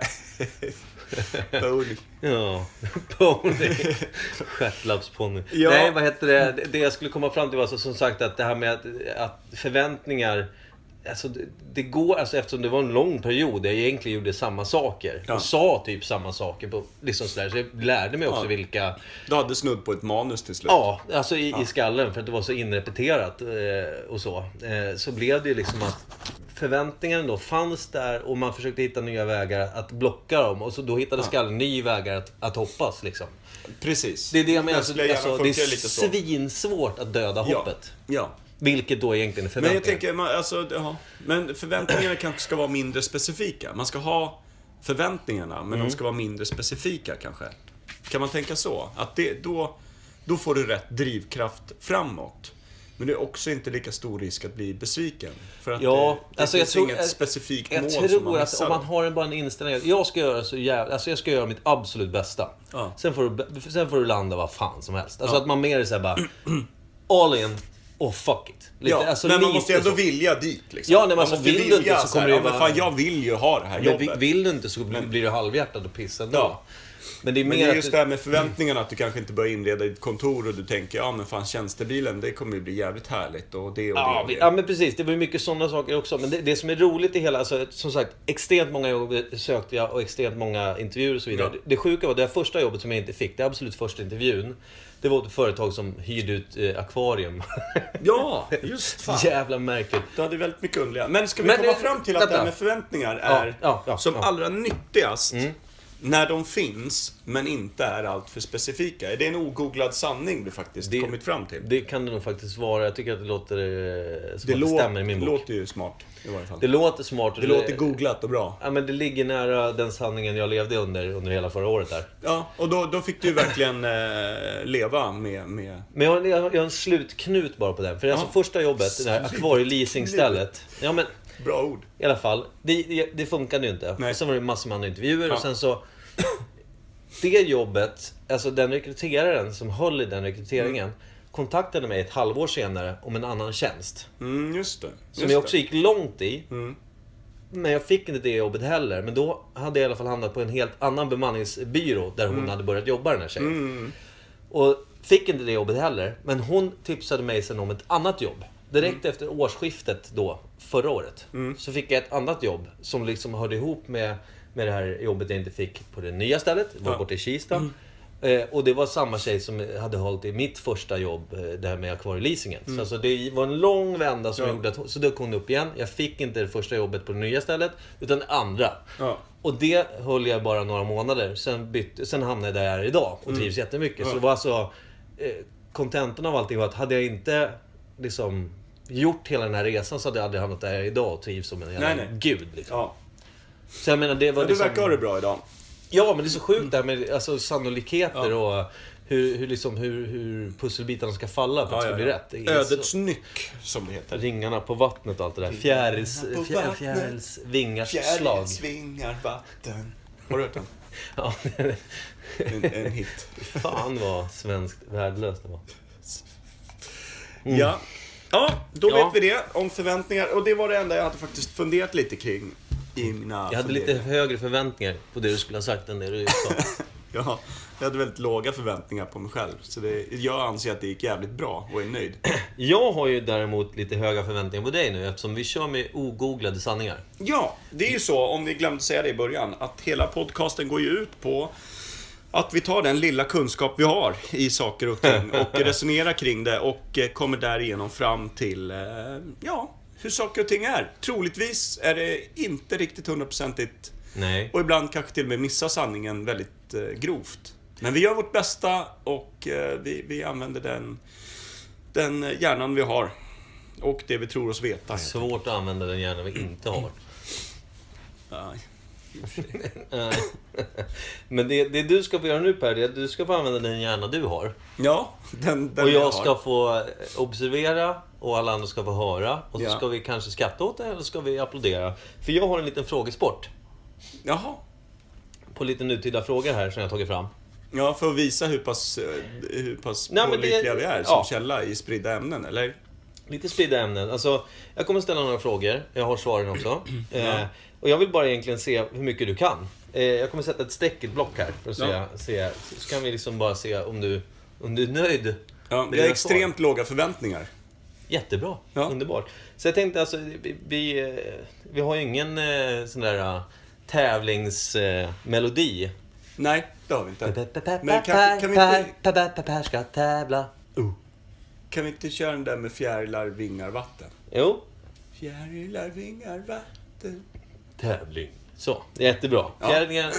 S4: Pony.
S2: Ja, pony. Stjärtlappsponny.
S4: Ja.
S2: Nej, vad heter det? Det- Det jag skulle komma fram till var alltså, som sagt att det här med att, att förväntningar Alltså, det, det går, alltså, eftersom det var en lång period där jag egentligen gjorde samma saker.
S4: Ja.
S2: Och sa typ samma saker. På, liksom sådär, så jag lärde mig också
S4: Ja.
S2: vilka...
S4: Du hade snudd på ett manus till slut.
S2: Ja, alltså i, i skallen för att det var så inrepeterat eh, och så. Eh, så blev det ju liksom att förväntningarna då fanns där och man försökte hitta nya vägar att blocka dem. Och så då hittade skallen nya vägar att, att hoppas liksom.
S4: Precis.
S2: Det är det jag menar.
S4: Den
S2: Alltså,
S4: skulle gärna
S2: alltså, det
S4: funka
S2: är
S4: lite så.
S2: svinsvårt att döda hoppet.
S4: Ja. ja.
S2: Vilket då egentligen är
S4: Men
S2: förväntningar.
S4: jag tänker, man, alltså, ja. Men förväntningarna kanske ska vara mindre specifika. Man ska ha förväntningarna, men
S2: Mm.
S4: de ska vara mindre specifika kanske. Kan man tänka så? Att det, då, då får du rätt drivkraft framåt. Men det är också inte lika stor risk att bli besviken. För att
S2: Ja,
S4: det, det
S2: alltså, jag
S4: finns
S2: tror-
S4: inget
S2: jag-
S4: specifikt
S2: Jag
S4: mål som man
S2: tror att
S4: missar.
S2: om man har en, bara en inställning att jag ska göra så jävla, alltså jag ska göra mitt absolut bästa.
S4: Ja.
S2: Sen, får du, sen får du landa vad fan som helst. Alltså att man mer är såhär bara, all in och fuck it. Lite,
S4: ja,
S2: alltså
S4: men man
S2: lite
S4: måste ändå
S2: så.
S4: vilja dit. Liksom.
S2: Ja, nej, men
S4: Man
S2: alltså,
S4: måste
S2: vill du inte så
S4: här,
S2: kommer det
S4: ja, men
S2: vara-
S4: fan, jag vill ju ha det här
S2: Men vi-
S4: jobbet.
S2: vill du inte så blir- blir du halvhjärtad och pissad ändå.
S4: Ja.
S2: Men det är
S4: Men
S2: mer
S4: det är
S2: att
S4: just
S2: du-
S4: det här med förväntningarna, att du kanske inte börjar inreda ditt kontor och du tänker, ja men fan tjänstebilen, det kommer ju bli jävligt härligt och det och det.
S2: Ja,
S4: Och
S2: vi,
S4: det.
S2: ja, men precis. Det var ju mycket sådana saker också. Men det, det som är roligt i hela, alltså, som sagt, extremt många jobb sökte jag och extremt många intervjuer och så vidare.
S4: Ja.
S2: Det, sjuka var det här första jobbet som jag inte fick, det absolut första intervjun, det var ett företag som hyrde ut eh, akvarium.
S4: ja just fan.
S2: Jävla märkligt.
S4: Du hade väldigt mycket underliga. Men ska vi
S2: Men
S4: komma
S2: det-
S4: fram till att det här
S2: vänta.
S4: med förväntningar är
S2: ja, ja,
S4: som
S2: ja. Mm.
S4: allra nyttigast när de finns, men inte är alltför specifika. Är det en ogooglad sanning vi faktiskt
S2: Det-
S4: kommit fram till?
S2: Det kan det nog faktiskt vara. Jag tycker att det låter eh, som
S4: Det,
S2: att det
S4: lå-
S2: stämmer i min bok.
S4: låter ju smart i varje fall.
S2: Det
S4: Det,
S2: låter smart. och
S4: låter googlat och bra.
S2: Ja, men det ligger nära den sanningen jag levde under, under hela förra året där.
S4: Ja, och då, då fick du ju verkligen eh, leva med, med...
S2: Men jag, har- jag, har- jag har en slutknut bara på den. För det är alltså första jobbet, det här akvarieleasingstället. Ja men,
S4: Bra ord.
S2: i alla fall. Det, det, det funkade ju inte.
S4: Nej.
S2: Och sen var det massor med andra intervjuer
S4: Ja.
S2: och sen så... Det jobbet, alltså den rekryteraren som höll i den rekryteringen
S4: Mm.
S2: kontaktade mig ett halvår senare om en annan tjänst.
S4: Mm, just det.
S2: Som
S4: just
S2: jag också
S4: det.
S2: gick långt i.
S4: Mm.
S2: Men jag fick inte det jobbet heller. Men då hade jag i alla fall hamnat på en helt annan bemanningsbyrå där hon
S4: Mm.
S2: hade börjat jobba den här tjejen. Och fick inte det jobbet heller. Men hon tipsade mig sen om ett annat jobb. Direkt
S4: Mm.
S2: efter årsskiftet då, förra året, så fick jag ett annat jobb som liksom hörde ihop med, med det här jobbet jag inte fick på det nya stället. Det var
S4: Ja. Mm.
S2: borta i Kista. Eh, och det var samma tjej som hade hållit i mitt första jobb, eh, det här med akvarieleasingen. Så alltså det var en lång vända som
S4: Mm. Ja.
S2: gjorde att, så dök hon upp igen. Jag fick inte det första jobbet på det nya stället, utan det andra.
S4: Ja.
S2: Och det höll jag bara några månader, sen, bytte, sen hamnade jag där jag är idag
S4: Mm.
S2: och trivs jättemycket. Så det var alltså... eh, Kontentan av allting var att hade jag inte liksom gjort hela den här resan så hade jag aldrig hamnat där jag är idag och trivs som en jävla
S4: Nej, nej.
S2: gud. Liksom.
S4: Ja.
S2: Så jag menar, det var
S4: Men du
S2: liksom...
S4: verkar ha det bra idag.
S2: Ja, men det är så sjukt det här med alltså, sannolikheter och hur, hur, liksom, hur, hur pusselbitarna ska falla för att det ska bli rätt. Det är
S4: Ödets
S2: så...
S4: nyck, som det heter.
S2: Ringarna på vattnet och allt det där. Fjärils,
S4: Ringarna på
S2: fjär,
S4: vattnet.
S2: fjärils vingars slag.
S4: Fjärilsvingar vatten. Har du hört den?
S2: Ja,
S4: En, en hit.
S2: fan vad svenskt värdelöst det var.
S4: Ja. Ja, då
S2: Mm. Ja.
S4: vet vi det om förväntningar. Och det var det enda jag hade faktiskt funderat lite kring i mina
S2: Jag hade lite
S4: funderingar.
S2: högre förväntningar på det du skulle ha sagt än det du sa.
S4: Ja, jag hade väldigt låga förväntningar på mig själv. Så det, jag anser att det gick jävligt bra och är nöjd.
S2: Jag har ju däremot lite höga förväntningar på dig nu eftersom vi kör med ogooglade sanningar.
S4: Ja, det är ju så, om vi glömde säga det i början, att hela podcasten går ju ut på att vi tar den lilla kunskap vi har i saker och ting och resonerar kring det och eh, kommer därigenom fram till, eh, ja, hur saker och ting är. Troligtvis är det inte riktigt hundraprocentigt
S2: Nej.
S4: och ibland kanske till och med missar sanningen väldigt eh, grovt. Men vi gör vårt bästa och eh, vi, vi använder den, den hjärnan vi har och det vi tror oss veta. helt
S2: Svårt att använda den hjärna vi inte har.
S4: enkelt.
S2: Nej. Men det, det du ska få göra nu Per, det är att du ska få använda den hjärna du har.
S4: Ja, den, den
S2: Och
S4: har.
S2: jag ska få observera och alla andra ska få höra. Och så
S4: Ja.
S2: ska vi kanske skratta åt det eller ska vi applådera. För jag har en liten frågesport.
S4: Jaha.
S2: På lite nutida frågor här som jag har tagit fram.
S4: Ja, för att visa hur pass, eh, hur pass
S2: Nej, men det-
S4: pålitliga vi är som
S2: ja.
S4: källa i spridda ämnen, eller?
S2: Lite spridda ämnen. Alltså, jag kommer ställa några frågor. Jag har svaren också. Eh, och jag vill bara egentligen se hur mycket du kan. Eh, jag kommer sätta ett streck i ett block här. För att se,
S4: Ja.
S2: se, så kan vi liksom bara se om du, om du är nöjd. med
S4: Ja, vi har
S2: dina svar.
S4: extremt låga förväntningar.
S2: Jättebra,
S4: Ja.
S2: underbart. Så jag tänkte alltså, vi, vi, eh, vi har ju ingen eh, sån där tävlingsmelodi.
S4: Nej, det har vi inte.
S2: Men
S4: Men kan- kan vi inte-
S2: Per ska tävla. Oh.
S4: Kan vi inte köra den där med fjärilar, vingar, vatten?
S2: Jo,
S4: Fjärilar, vingar, vatten.
S2: tävling. Så, jättebra. Fjärdingar,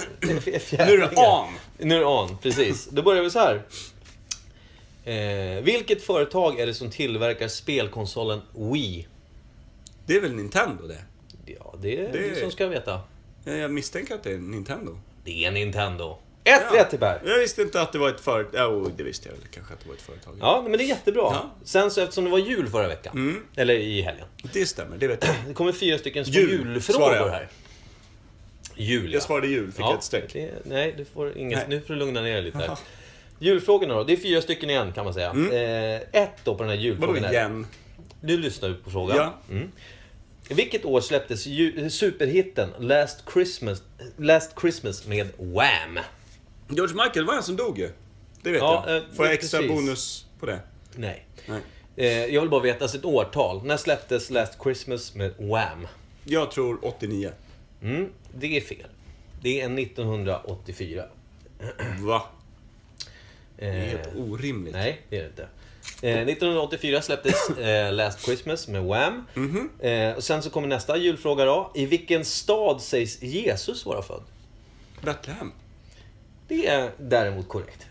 S2: fjärdingar.
S4: Nu är det on!
S2: Nu är det on, precis. Då börjar vi så här. Eh, vilket företag är det som tillverkar spelkonsolen Wii?
S4: Det är väl Nintendo det?
S2: Ja, det är
S4: Det-
S2: du som ska veta.
S4: Ja, Jag misstänker att det är Nintendo.
S2: Det är Nintendo. Ett
S4: Ja.
S2: rätt till Per!
S4: Jag visste inte att det var ett företag. Jo, det visste jag väl kanske att det var ett företag.
S2: Ja, men det är jättebra.
S4: Ja. Mm.
S2: Sen så eftersom det var jul förra veckan, eller i helgen.
S4: Det stämmer, det vet jag.
S2: Det kommer fyra stycken små
S4: Jul,
S2: julfrågor
S4: svarar jag.
S2: här. Jul, ja.
S4: Jag svarade jul, fick jag ett streck.
S2: det, nej, du får inget,
S4: Nej.
S2: nu får du lugna ner dig lite här.
S4: Jaha. Mm.
S2: Julfrågorna då, det är fyra stycken igen kan man säga. Eh, ett då på den här
S4: Vadå
S2: julfrågan. här.
S4: igen?
S2: Nu lyssnar du på frågan.
S4: Ja.
S2: Mm. Vilket år släpptes ju, eh, superhitten Last Christmas, Last Christmas med Wham?
S4: George Michael var han som dog ju. Det vet
S2: Ja, eh,
S4: jag. Får jag
S2: precis.
S4: extra bonus på det?
S2: Nej.
S4: Nej.
S2: Eh, jag vill bara veta alltså ett årtal. När släpptes Last Christmas med Wham?
S4: Jag tror 89.
S2: Mm, det är fel. Det är 1984.
S4: Va? Det är
S2: Eh,
S4: helt orimligt.
S2: nej, det är det inte. Eh, 1984 släpptes eh, Last Christmas med Wham.
S4: Mhm.
S2: Eh, och sen så kommer nästa julfråga då. I vilken stad sägs Jesus vara född?
S4: Betlehem.
S2: Det är däremot korrekt.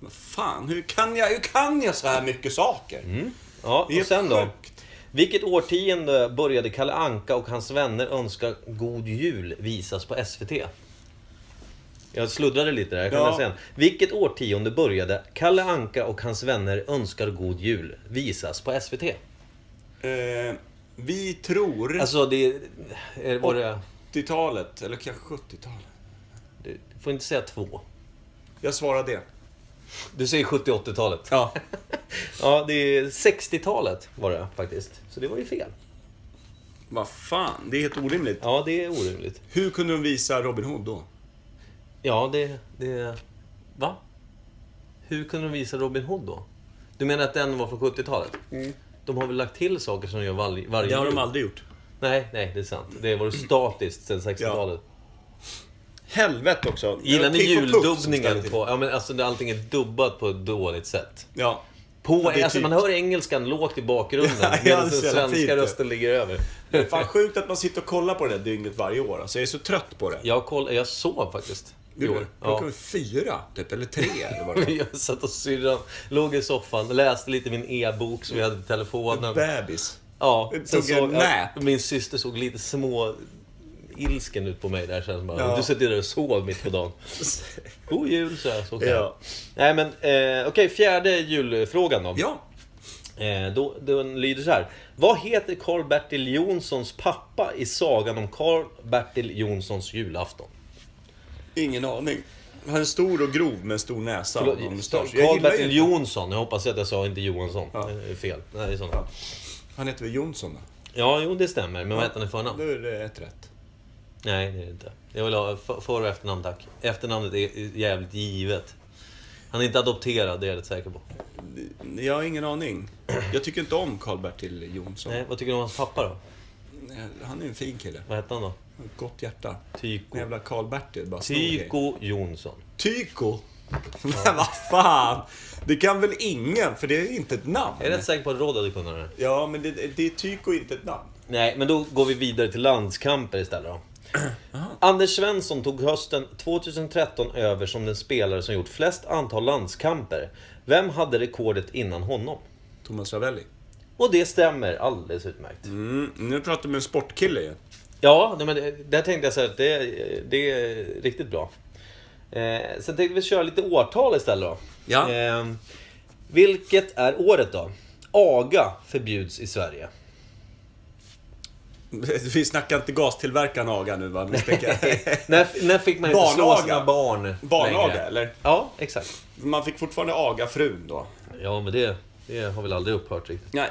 S4: Vad fan, hur kan jag, hur kan jag så här mycket saker?
S2: Mm. Ja,
S4: Det är
S2: och sen då?
S4: sjukt.
S2: Vilket årtionde började Kalle Anka och hans vänner önska God Jul visas på SVT? Jag sluddrade lite där, jag kan
S4: Ja.
S2: läsa igen. Vilket årtionde började Kalle Anka och hans vänner önskar God Jul visas på SVT?
S4: Eh, vi tror
S2: Alltså det... Är, var det,
S4: 80-talet, eller kanske 70-talet.
S2: du får inte säga två.
S4: Jag svarar det.
S2: Du säger 70-80-talet.
S4: Ja.
S2: Ja, det är 60-talet var det faktiskt. Så det var ju fel.
S4: Vad fan, det är helt orimligt.
S2: Ja, det är orimligt.
S4: Hur kunde de visa Robin Hood då?
S2: Ja, det... det va? Hur kunde de visa Robin Hood då? Du menar att den var från 70-talet?
S4: Mm.
S2: De har väl lagt till saker som de gör varje, varje
S4: Det har de
S2: jul?
S4: aldrig gjort.
S2: Nej, nej, det är sant. Det har varit statiskt sedan 60-talet.
S4: Helvete också.
S2: Gillar
S4: Det
S2: ni
S4: var Piff och Puff som ställde
S2: juldubbningen?
S4: till.
S2: På, ja, men alltså, det- allting är dubbat på ett dåligt sätt.
S4: Ja.
S2: På,
S4: Det är
S2: alltså,
S4: typ-
S2: man hör engelskan lågt i bakgrunden,
S4: Ja, ja,
S2: medan
S4: det
S2: den
S4: är så jävla
S2: svenska
S4: fint, ja.
S2: rösten ligger över.
S4: Fan sjukt att man sitter och kollar på det där dygnet varje år. Alltså, jag är så trött på det.
S2: Jag, koll, jag sov faktiskt i
S4: Du,
S2: år.
S4: klockan var fyra, typ, eller tre eller vad det var.
S2: Jag satt och syrran låg i soffan, läste lite min e-bok som vi hade i telefonen.
S4: Bebis.
S2: Ja,
S4: Jag
S2: sen
S4: tog en
S2: såg jag,
S4: nap.
S2: min syster såg lite små ilsken ut på mig där sen. Bara,
S4: Ja.
S2: Du sitter där och sov mitt på dagen. God jul, så jag. Så kan jag.
S4: Ja.
S2: Nej men, eh, okej, fjärde julfrågan då.
S4: Ja.
S2: Eh, då. Den lyder så här. Vad heter Karl-Bertil Jonssons pappa i sagan om Karl-Bertil Jonssons julafton?
S4: Ingen aning. Han är stor och grov med en stor näsa och en mustasch. Jag gillar ju
S2: Karl-Bertil
S4: inte-
S2: Jonsson, jag hoppas att jag sa inte Johansson.
S4: Ja.
S2: Det är fel. Nej, det är sånt.
S4: Ja. Han heter väl Jonsson då?
S2: Ja, jo det stämmer. Men vad heter han i förnamn?
S4: Då är det ett rätt.
S2: Nej, det är det inte. Jag vill ha för för och efternamn tack. Efternamnet är jävligt givet. Han är inte adopterad, det är jag rätt säker på.
S4: Jag har ingen aning. Jag tycker inte om Karl-Bertil Jonsson.
S2: Nej, vad tycker du om hans pappa då?
S4: Han är en fin kille.
S2: Vad hette han då?
S4: Gott hjärta.
S2: Tyko.
S4: Den jävla Karl-Bertil bara snor grejer.
S2: Tyko Jonsson.
S4: Tyko? Men vad fan! Det kan väl ingen, för det är inte ett namn.
S2: Jag är rätt säker på att Rod hade kunnat det.
S4: Ja, men det, det är Tyko inte ett namn.
S2: Nej, men då går vi vidare till landskamper istället då. Anders Svensson tog hösten 2013 över som den spelare som gjort flest antal landskamper. Vem hade rekordet innan honom?
S4: Thomas Ravelli.
S2: Och det stämmer alldeles utmärkt.
S4: Mm, nu pratar du med en sportkille ju.
S2: Ja, nej, men det- där tänkte jag så här att det, det är riktigt bra. Eh, sen tänkte vi köra lite årtal istället då.
S4: Ja.
S2: Eh, vilket är året då? Aga förbjuds i Sverige.
S4: Vi snackar inte gastillverkaren Aga nu va, misstänker jag.
S2: när, när fick man inte slå
S4: Barnaga.
S2: sina barn
S4: Barnaga,
S2: längre?
S4: eller?
S2: Ja, exakt.
S4: Man fick fortfarande aga frun då.
S2: Ja, men det, det har väl aldrig upphört riktigt.
S4: Nej.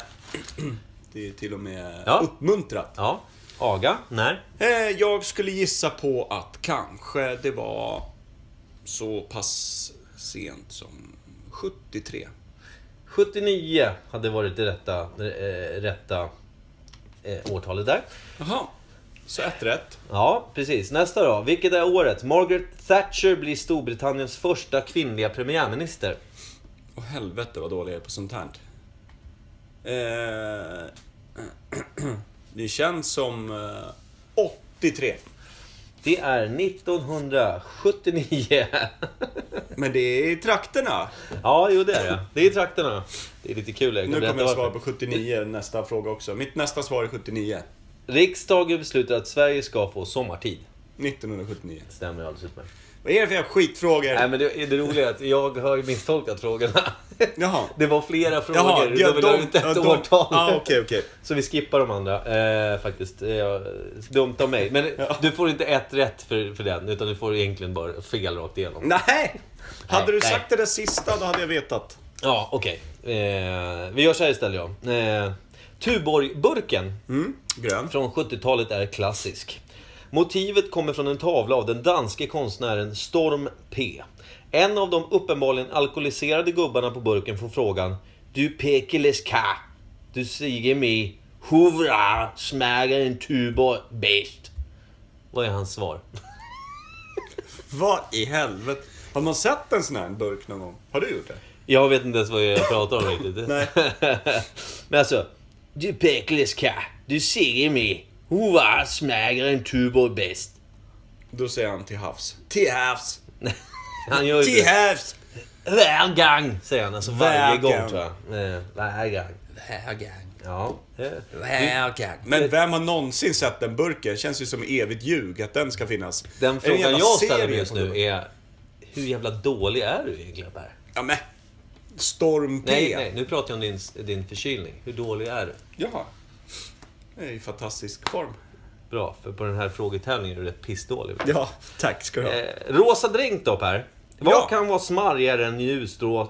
S4: Det är till och med
S2: Ja.
S4: uppmuntrat.
S2: Ja, aga. När?
S4: Eh, Jag skulle gissa på att kanske det var så pass sent som 73.
S2: 79 hade varit det rätta, eh, rätta eh, årtalet där.
S4: Jaha. Så ett rätt.
S2: Ja, precis. Nästa då. Vilket är året? Margaret Thatcher blir Storbritanniens första kvinnliga premiärminister.
S4: Åh helvete vad dålig jag är på sånt här. Eh, det känns som eh, 83.
S2: Det är 1979.
S4: Men det är i trakterna.
S2: Ja, jo det är det. Det är i trakterna. Det är lite kul. kan
S4: Nu kommer
S2: berätta
S4: jag
S2: varför.
S4: svara på 79 nästa fråga också. Mitt nästa svar är 79.
S2: Riksdagen beslutar att Sverige ska få sommartid.
S4: 1979.
S2: Stämmer ju alldeles utmärkt.
S4: Vad är det för jävla skitfrågor?
S2: Nej men det, det roliga är att jag har ju misstolkat frågorna.
S4: Jaha.
S2: Det var flera frågor.
S4: Jaha,
S2: Jaha, de la ut ett
S4: ja, de-
S2: årtal.
S4: Ah, okej, okej.
S2: Så vi skippar de andra eh, faktiskt. Eh, dumt av mig. Men
S4: Ja.
S2: du får inte ett rätt för, för den, utan du får egentligen bara fel rakt igenom.
S4: Mm. Nej! Hade
S2: Nej,
S4: du
S2: nej.
S4: sagt det där sista, då hade jag vetat.
S2: Ja, okej. Eh, vi gör så här istället ja. Eh, Tuborg-burken
S4: Mm, grön.
S2: från 70-talet är klassisk. Motivet kommer från en tavla av den danske konstnären Storm P. En av de uppenbarligen alkoholiserade gubbarna på burken får frågan Du pekeles ka, du siger mig, hurra, smager en Tuborg bäst. Vad är hans svar?
S4: Vad i helvete? Har man sett en sån här burk någon gång? Har du gjort det?
S2: Jag vet inte ens vad jag pratar om riktigt.
S4: Nej.
S2: Men alltså. Du peckles ka, du ser mig. Hurra, smäger en tuborg bäst.
S4: Då säger han till havs. Till havs!
S2: Han gör ju
S4: Till
S2: det.
S4: havs!
S2: Varje gång, säger han. Alltså varje
S4: Varje
S2: gång
S4: gång.
S2: tror jag. Eh, Varje gång. Ja. eh.
S4: Men vem har någonsin sett den burken? Känns ju som evigt ljug att den ska finnas. Är det
S2: Den
S4: en
S2: frågan
S4: jävla
S2: jag ställer
S4: serie
S2: mig just
S4: på
S2: nu
S4: det?
S2: är. Hur jävla dålig är du egentligen Per?
S4: Ja, men. Storm P.
S2: Nej, nej, nu pratar jag om din, din förkylning. Hur dålig är du?
S4: Jaha. Det är ju fantastisk form.
S2: Bra, för på den här frågetävlingen är du rätt pissdålig.
S4: Ja, tack ska du ha.
S2: Eh, rosa drink då Per. Vad
S4: Ja.
S2: kan vara smarrigare än ljusrå...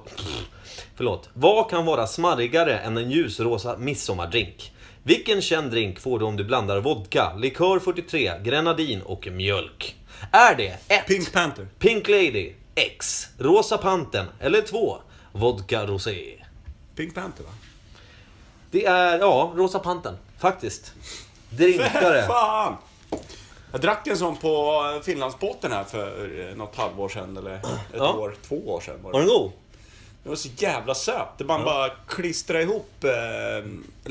S2: Förlåt. Vad kan vara smarrigare än en ljusrosa midsommardrink? Vilken känd drink får du om du blandar vodka, likör 43, grenadin och mjölk? Är det 1.
S4: Pink Panther.
S2: Pink Lady X. Rosa Panten eller 2. Vodka Rosé.
S4: Pink Panther va?
S2: Det är, ja, Rosa Panten. Faktiskt. Drinkare.
S4: Fan! Jag drack en sån på Finlandsbåten här för eh, något halvår sedan eller ett
S2: Ja.
S4: år, två år sedan var
S2: Var
S4: det.
S2: den god?
S4: Det var så jävla söt. Det man bara klistrade ihop eh,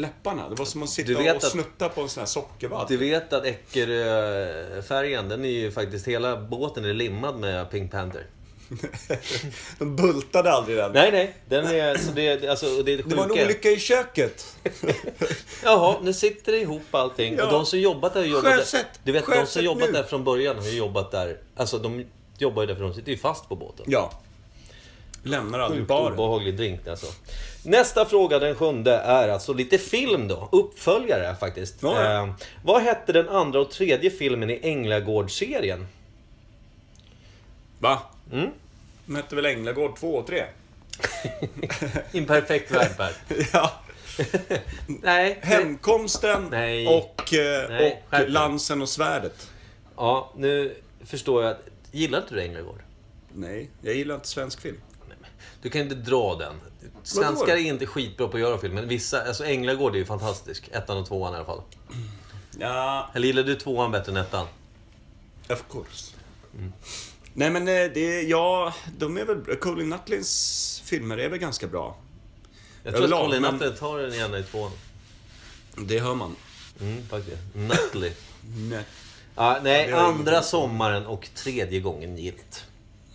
S4: läpparna. Det var som att
S2: Du
S4: sitta
S2: vet
S4: och
S2: att-
S4: snutta på en sån här sockervadd.
S2: Du vet att Eckerö-färgen, den är ju faktiskt, hela båten är limmad med Pink Panther.
S4: De bultade aldrig den.
S2: Nej, nej. Den är, så det, alltså, det är det
S4: det var en
S2: sjuka.
S4: olycka i köket.
S2: Jaha, nu sitter det ihop allting.
S4: Ja.
S2: Och de som jobbat där har jobbat
S4: Sjösätt!
S2: där. Du vet, de
S4: Sjösätt
S2: som jobbat
S4: nu!
S2: där från början har ju jobbat där. Alltså, de jobbar ju där för de sitter ju fast på båten.
S4: ja. Lämnar aldrig
S2: Sjukt
S4: baren.
S2: obehaglig drink alltså. Nästa fråga, den sjunde, är alltså lite film då. Uppföljare faktiskt.
S4: Ja, ja.
S2: Eh, vad hette den andra och tredje filmen i Änglagårdsserien?
S4: Va?
S2: Mm.
S4: De hette väl Änglagård 2 och 3?
S2: Imperfekt värld, Per.
S4: ja.
S2: Nej. det-
S4: Hemkomsten
S2: Nej.
S4: och, eh,
S2: Nej, skärp
S4: och
S2: dig.
S4: lansen och svärdet.
S2: Ja, nu förstår jag. att- Gillar inte du Änglagård?
S4: Nej, jag gillar inte svensk film.
S2: Du kan inte dra den. Svenskar
S4: Vadå?
S2: är inte skitbra på att göra film, men vissa... Alltså Änglagård är ju fantastisk. Ettan och tvåan i alla fall.
S4: Ja,
S2: Eller gillar du tvåan bättre än ettan?
S4: of course.
S2: Mm.
S4: Nej men eh, det, ja, de är väl, Colin Nutlins filmer är väl ganska bra.
S2: Jag tror
S4: Överlag,
S2: att Colin
S4: men-
S2: Nutley tar den gärna i tvåan.
S4: Det hör man.
S2: Mm, faktiskt. Nutley.
S4: Nej.
S2: Ja, nej,
S4: det har jag
S2: andra sommaren och tredje gången gilt.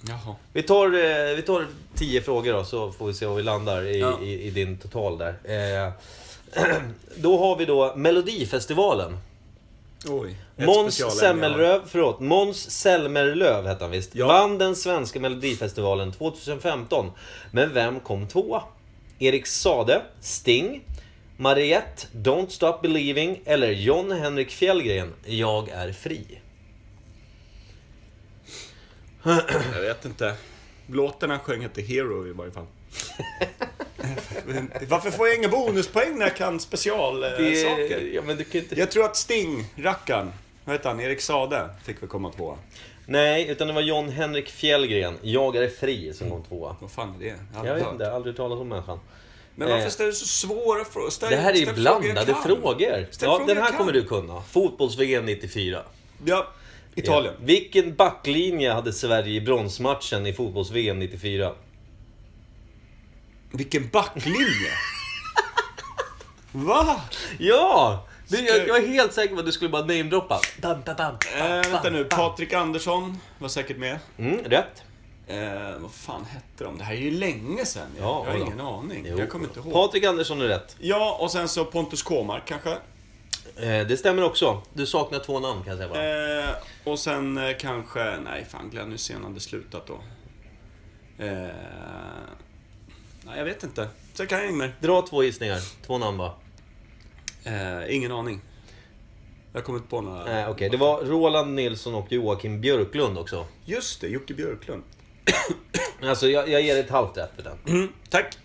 S4: Jaha.
S2: Vi tar, eh, vi tar tio frågor då, så får vi se var vi landar i,
S4: Ja.
S2: i, i din total där. Eh, då har vi då Melodifestivalen.
S4: Oj. ett
S2: Måns
S4: specialämne jag har.
S2: Semmelröv, förlåt, Måns Selmerlöv hette han visst.
S4: Ja.
S2: Vann den svenska melodifestivalen 2015. Men vem kom tvåa? Erik Sade, Sting, Mariette, Don't Stop Believing eller John Henrik Fjällgren, Jag är fri.
S4: Jag vet inte. Låten han sjöng hette Hero i varje fall. Varför får jag inga bonuspoäng när jag kan
S2: Det-
S4: specialsaker?
S2: ja, men du kan ju inte...
S4: Jag tror att Sting, rackaren, vad heter han, Erik Sade, fick väl komma tvåa.
S2: Nej, utan det var John Henrik Fjällgren, Jag är fri, som kom tvåa.
S4: Vad fan är det? Jag har
S2: Jag
S4: aldrig
S2: vet
S4: hört.
S2: inte, aldrig talat om människan.
S4: Men varför ställer du så svåra frågor? Ställ,
S2: Det här är ju
S4: ställ frågor jag
S2: blandade
S4: kan.
S2: frågor.
S4: Ställ
S2: Ja,
S4: frågor
S2: den
S4: jag
S2: här
S4: kan.
S2: kommer du kunna. Fotbolls-VM 94.
S4: Ja, Italien.
S2: Ja. Vilken backlinje hade Sverige i bronsmatchen i fotbolls-VM 94?
S4: Vilken backlinje! Va?
S2: Ja! Du,
S4: Ska-
S2: jag, jag var helt säker på att du skulle bara namedroppa. Bam, bam, bam, bam,
S4: Eh, vänta
S2: bam,
S4: nu,
S2: bam.
S4: Patrik Andersson var säkert med.
S2: Mm, rätt.
S4: Eh, vad fan hette de? Det här är ju länge sedan. Jag,
S2: Ja,
S4: jag har
S2: ja.
S4: ingen aning.
S2: Jo.
S4: Jag kommer inte ihåg.
S2: Patrik Andersson är rätt.
S4: Ja, och sen så Pontus Kåmark kanske.
S2: Eh, det stämmer också. Du saknar två namn kan jag säga bara.
S4: Eh, och sen eh, kanske... Nej, fan Glenn Hysén hade slutat då. Eh, nej, jag vet inte. Sen kan jag inget mer.
S2: Dra två gissningar. Två namn bara.
S4: Eh, ingen aning. Jag kommer inte på några.
S2: Nej, Eh, okej. Det var Roland Nilsson och Joakim Björklund också.
S4: Just det, Jocke Björklund.
S2: Alltså, jag, jag ger ett halvt rätt för den.
S4: Mm, tack.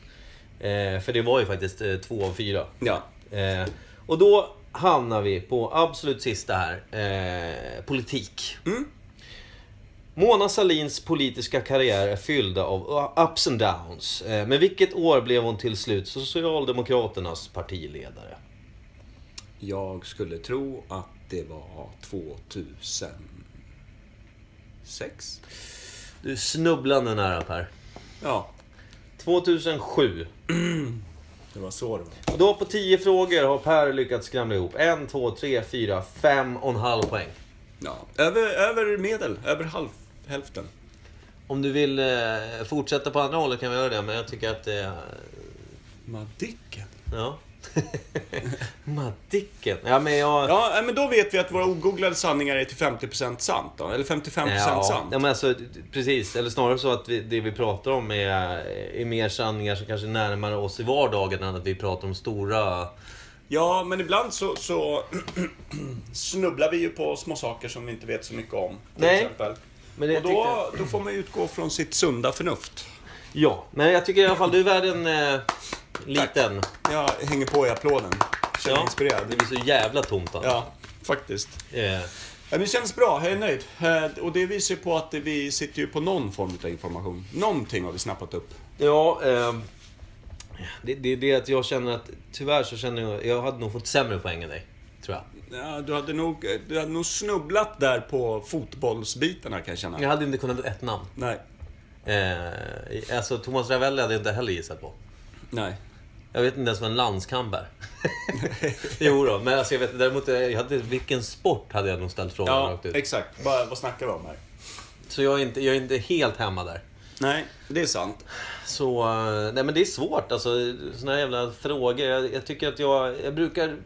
S2: Eh, för det var ju faktiskt eh, två av fyra.
S4: Ja.
S2: Eh, och då hamnar vi på absolut sista här. Eh, politik. Mm. Mona Salins politiska karriär är fyllda av ups and downs. Eh, men vilket år blev hon till slut Socialdemokraternas partiledare?
S4: Jag skulle tro att det var 2006.
S2: Du är snubblande nära Per.
S4: Ja,
S2: 2007.
S4: det var så det var.
S2: Och då på 10 frågor har Per lyckats skramla ihop 1, 2, 3, 4, 5 och en halv poäng.
S4: Ja. Över, över medel, över halv, hälften.
S2: Om du vill eh, fortsätta på andra hållet kan vi göra det, men jag tycker att eh, det...
S4: Madicken.
S2: ja. Madicken. Ja, men jag...
S4: Ja, nej, men då vet vi att våra ogooglade sanningar är till 50% sant då. Eller 55% sant.
S2: ja, men alltså, precis. Eller snarare så att vi, det vi pratar om är, är mer sanningar som kanske är närmare oss i vardagen än att vi pratar om stora...
S4: Ja, men ibland så, så snubblar vi ju på små saker som vi inte vet så mycket om. Till
S2: Nej.
S4: exempel.
S2: Men jag
S4: Och då, då får man ju utgå från sitt sunda förnuft.
S2: Ja, men jag tycker i alla fall du är värd en eh, liten...
S4: Jag hänger på i applåden. Känner mig
S2: Det
S4: inspirerad.
S2: blir så jävla tomt alltså.
S4: Ja, faktiskt.
S2: Eh,
S4: Ja, men det känns bra, jag är nöjd. Eh, Och det visar ju på att vi sitter ju på någon form av information. Någonting har vi snappat upp.
S2: Ja, ehm, det, det är det att jag känner att tyvärr så känner jag... Jag hade nog fått sämre poäng än dig. Tror jag.
S4: Ja, du, hade nog, du hade nog snubblat där på fotbollsbitarna kan jag känna.
S2: Jag hade inte kunnat ett namn.
S4: Nej,
S2: Eh, alltså Thomas Ravelli hade jag inte heller gissat på.
S4: nej.
S2: Jag vet inte ens vad en landskamp är. jo då, men alltså jag vet däremot jag hade, vilken sport hade jag nog ställt frågan
S4: Ja,
S2: rakt ut.
S4: exakt. Bara, vad snackar vi om här?
S2: Så jag är, inte, jag är inte helt hemma där.
S4: Nej, det är sant.
S2: Så, eh, nej men det är svårt alltså. Såna här jävla frågor. Jag, jag tycker att jag, jag brukar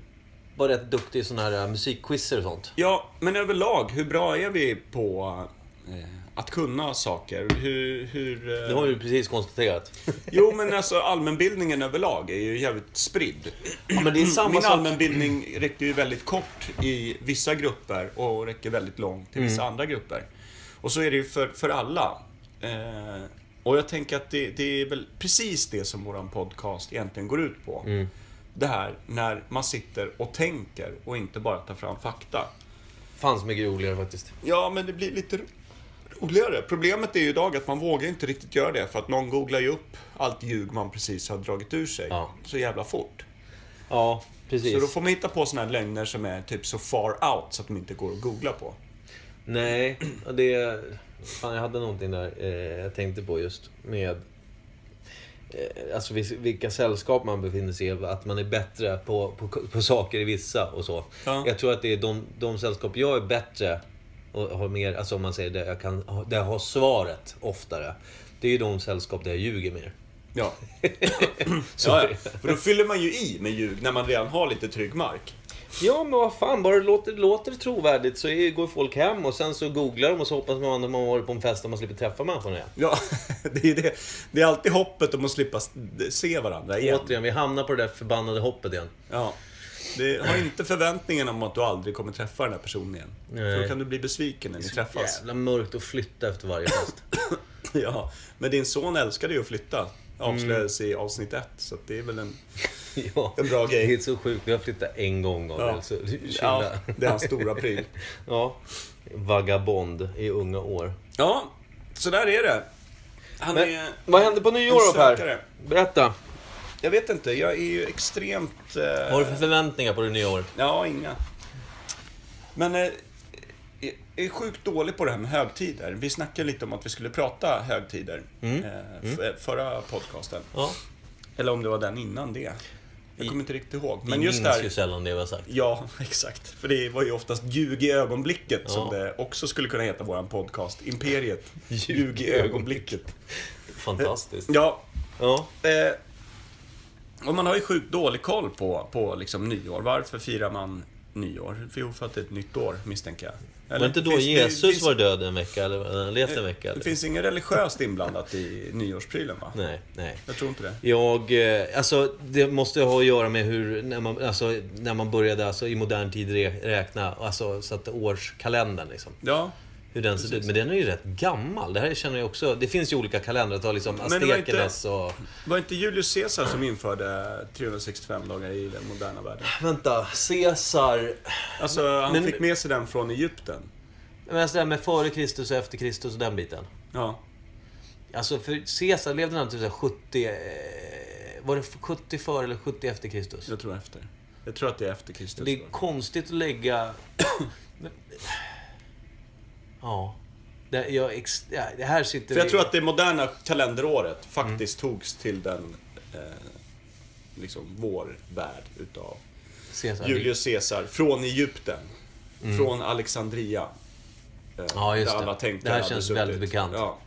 S2: vara rätt duktig i såna här eh, musikquizzer och sånt.
S4: Ja, men överlag, hur bra är vi på eh, att kunna saker? Hur... hur eh,
S2: Det har vi ju precis konstaterat.
S4: Jo, men alltså allmänbildningen överlag är ju jävligt spridd.
S2: Ja, men det är samma
S4: Min
S2: sak.
S4: allmänbildning räcker ju väldigt kort i vissa grupper och räcker väldigt långt till
S2: Mm.
S4: vissa andra grupper. Och så är det ju för, för alla. Eh, och jag tänker att det, det är väl precis det som våran podcast egentligen går ut på.
S2: Mm.
S4: Det här när man sitter och tänker och inte bara tar fram fakta.
S2: Fanns mycket roligare faktiskt.
S4: Ja, men det blir lite ro- roligare. Problemet är ju idag att man vågar inte riktigt göra det för att någon googlar ju upp allt ljug man precis har dragit ur sig
S2: Ja.
S4: så jävla fort.
S2: Ja, precis.
S4: Så då får man hitta på såna här lögner som är typ så far out så att de inte går att googla på.
S2: Nej, och det... Fan, jag hade någonting där eh, jag tänkte på just med... Eh, alltså vis- vilka sällskap man befinner sig i, att man är bättre på, på, på saker i vissa och så.
S4: Ja.
S2: Jag tror att det är de, de sällskap jag är bättre och har mer, alltså om man säger det, jag kan, där jag har svaret oftare. Det är ju de sällskap där jag ljuger mer.
S4: Ja. ja,
S2: Sorry.
S4: ja. För då fyller man ju i med ljug när man redan har lite trygg mark.
S2: Ja, men vad fan, bara det låter, låter trovärdigt så är, går folk hem och sen så googlar de och så hoppas man att man har varit på en fest där man slipper träffa människorna igen.
S4: Ja, det är, det. det är alltid hoppet om att slippa s- se varandra igen.
S2: Återigen, vi hamnar på det där förbannade hoppet igen.
S4: Ja. Det, har inte förväntningen om att du aldrig kommer träffa den här personen igen. För då
S2: Nej.
S4: kan du bli besviken när ni träffas.
S2: Jävla mörkt att flytta efter varje fest.
S4: Ja. Men din son älskade ju att flytta. Avslöjades i avsnitt ett, så att det är väl en...
S2: ja,
S4: En bra grej.
S2: Det är så sjukt. Jag flyttade en gång Gabriel.
S4: Ja.
S2: Så chilla.
S4: Ja,
S2: Ja.
S4: det är hans stora pryl.
S2: Vagabond i unga år.
S4: Ja, så där är det. Han
S2: Men,
S4: är...
S2: vad hände på nyår då
S4: en sökare.
S2: Per? Berätta.
S4: Jag vet inte, jag är ju extremt... eh,
S2: Vad har du för förväntningar på det nya året?
S4: Ja, inga. Men eh, jag är sjukt dålig på det här med högtider. Vi snackade lite om att vi skulle prata högtider eh, f- förra podcasten.
S2: Ja.
S4: Eller om det var den innan det. Jag kommer inte riktigt ihåg.
S2: Men
S4: Men just
S2: minns ju
S4: där.
S2: sällan det vi har sagt.
S4: Ja, exakt. För det var ju oftast ljug i ögonblicket som
S2: Ja.
S4: det också skulle kunna heta våran podcast. Imperiet.
S2: Ljug i
S4: Ljug i ögonblicket.
S2: Fantastiskt.
S4: Ja,
S2: Ja.
S4: Eh, och man har ju sjukt dålig koll på, på liksom nyår. Varför firar man nyår? Jo, för att det är ett nytt år, misstänker jag.
S2: Var det inte då
S4: finns det-
S2: Jesus
S4: finns,
S2: var död en vecka, eller eller levt en vecka?
S4: Det
S2: Eller?
S4: finns inget religiöst inblandat i nyårsprylen, va?
S2: Nej, nej.
S4: Jag tror inte det.
S2: Jag, eh, alltså det måste ha att göra med hur, när man, alltså, när man började alltså, i modern tid re- räkna, alltså så att årskalendern liksom.
S4: Ja,
S2: Hur den ser ut. Men den är ju rätt gammal. Det här känner jag också, det finns ju olika kalendrar, ta liksom
S4: Men det var
S2: aztekernas och...
S4: var inte Julius Caesar som införde 365 dagar i den moderna världen?
S2: Vänta, Caesar...
S4: Alltså, han
S2: Men-
S4: fick med sig den från Egypten.
S2: Men alltså det här med före Kristus och efter Kristus och den biten.
S4: Ja.
S2: Alltså för Caesar levde han typ så här 70... eh, Var det 70 före eller 70 efter Kristus?
S4: Jag tror efter. Jag tror att det är efter Kristus.
S2: Det är
S4: då.
S2: konstigt att lägga... Men- ja. Det, jag, ex... ja, det här sitter...
S4: För jag
S2: vi-
S4: tror att det moderna kalenderåret faktiskt togs till den eh, liksom vår värld utav
S2: Caesar-
S4: Julius Caesar från Egypten. Från Alexandria. Eh,
S2: Mm. Ja, just
S4: där
S2: det.
S4: alla tänkare
S2: Det här
S4: hade
S2: känns
S4: suttit.
S2: väldigt bekant.
S4: Ja.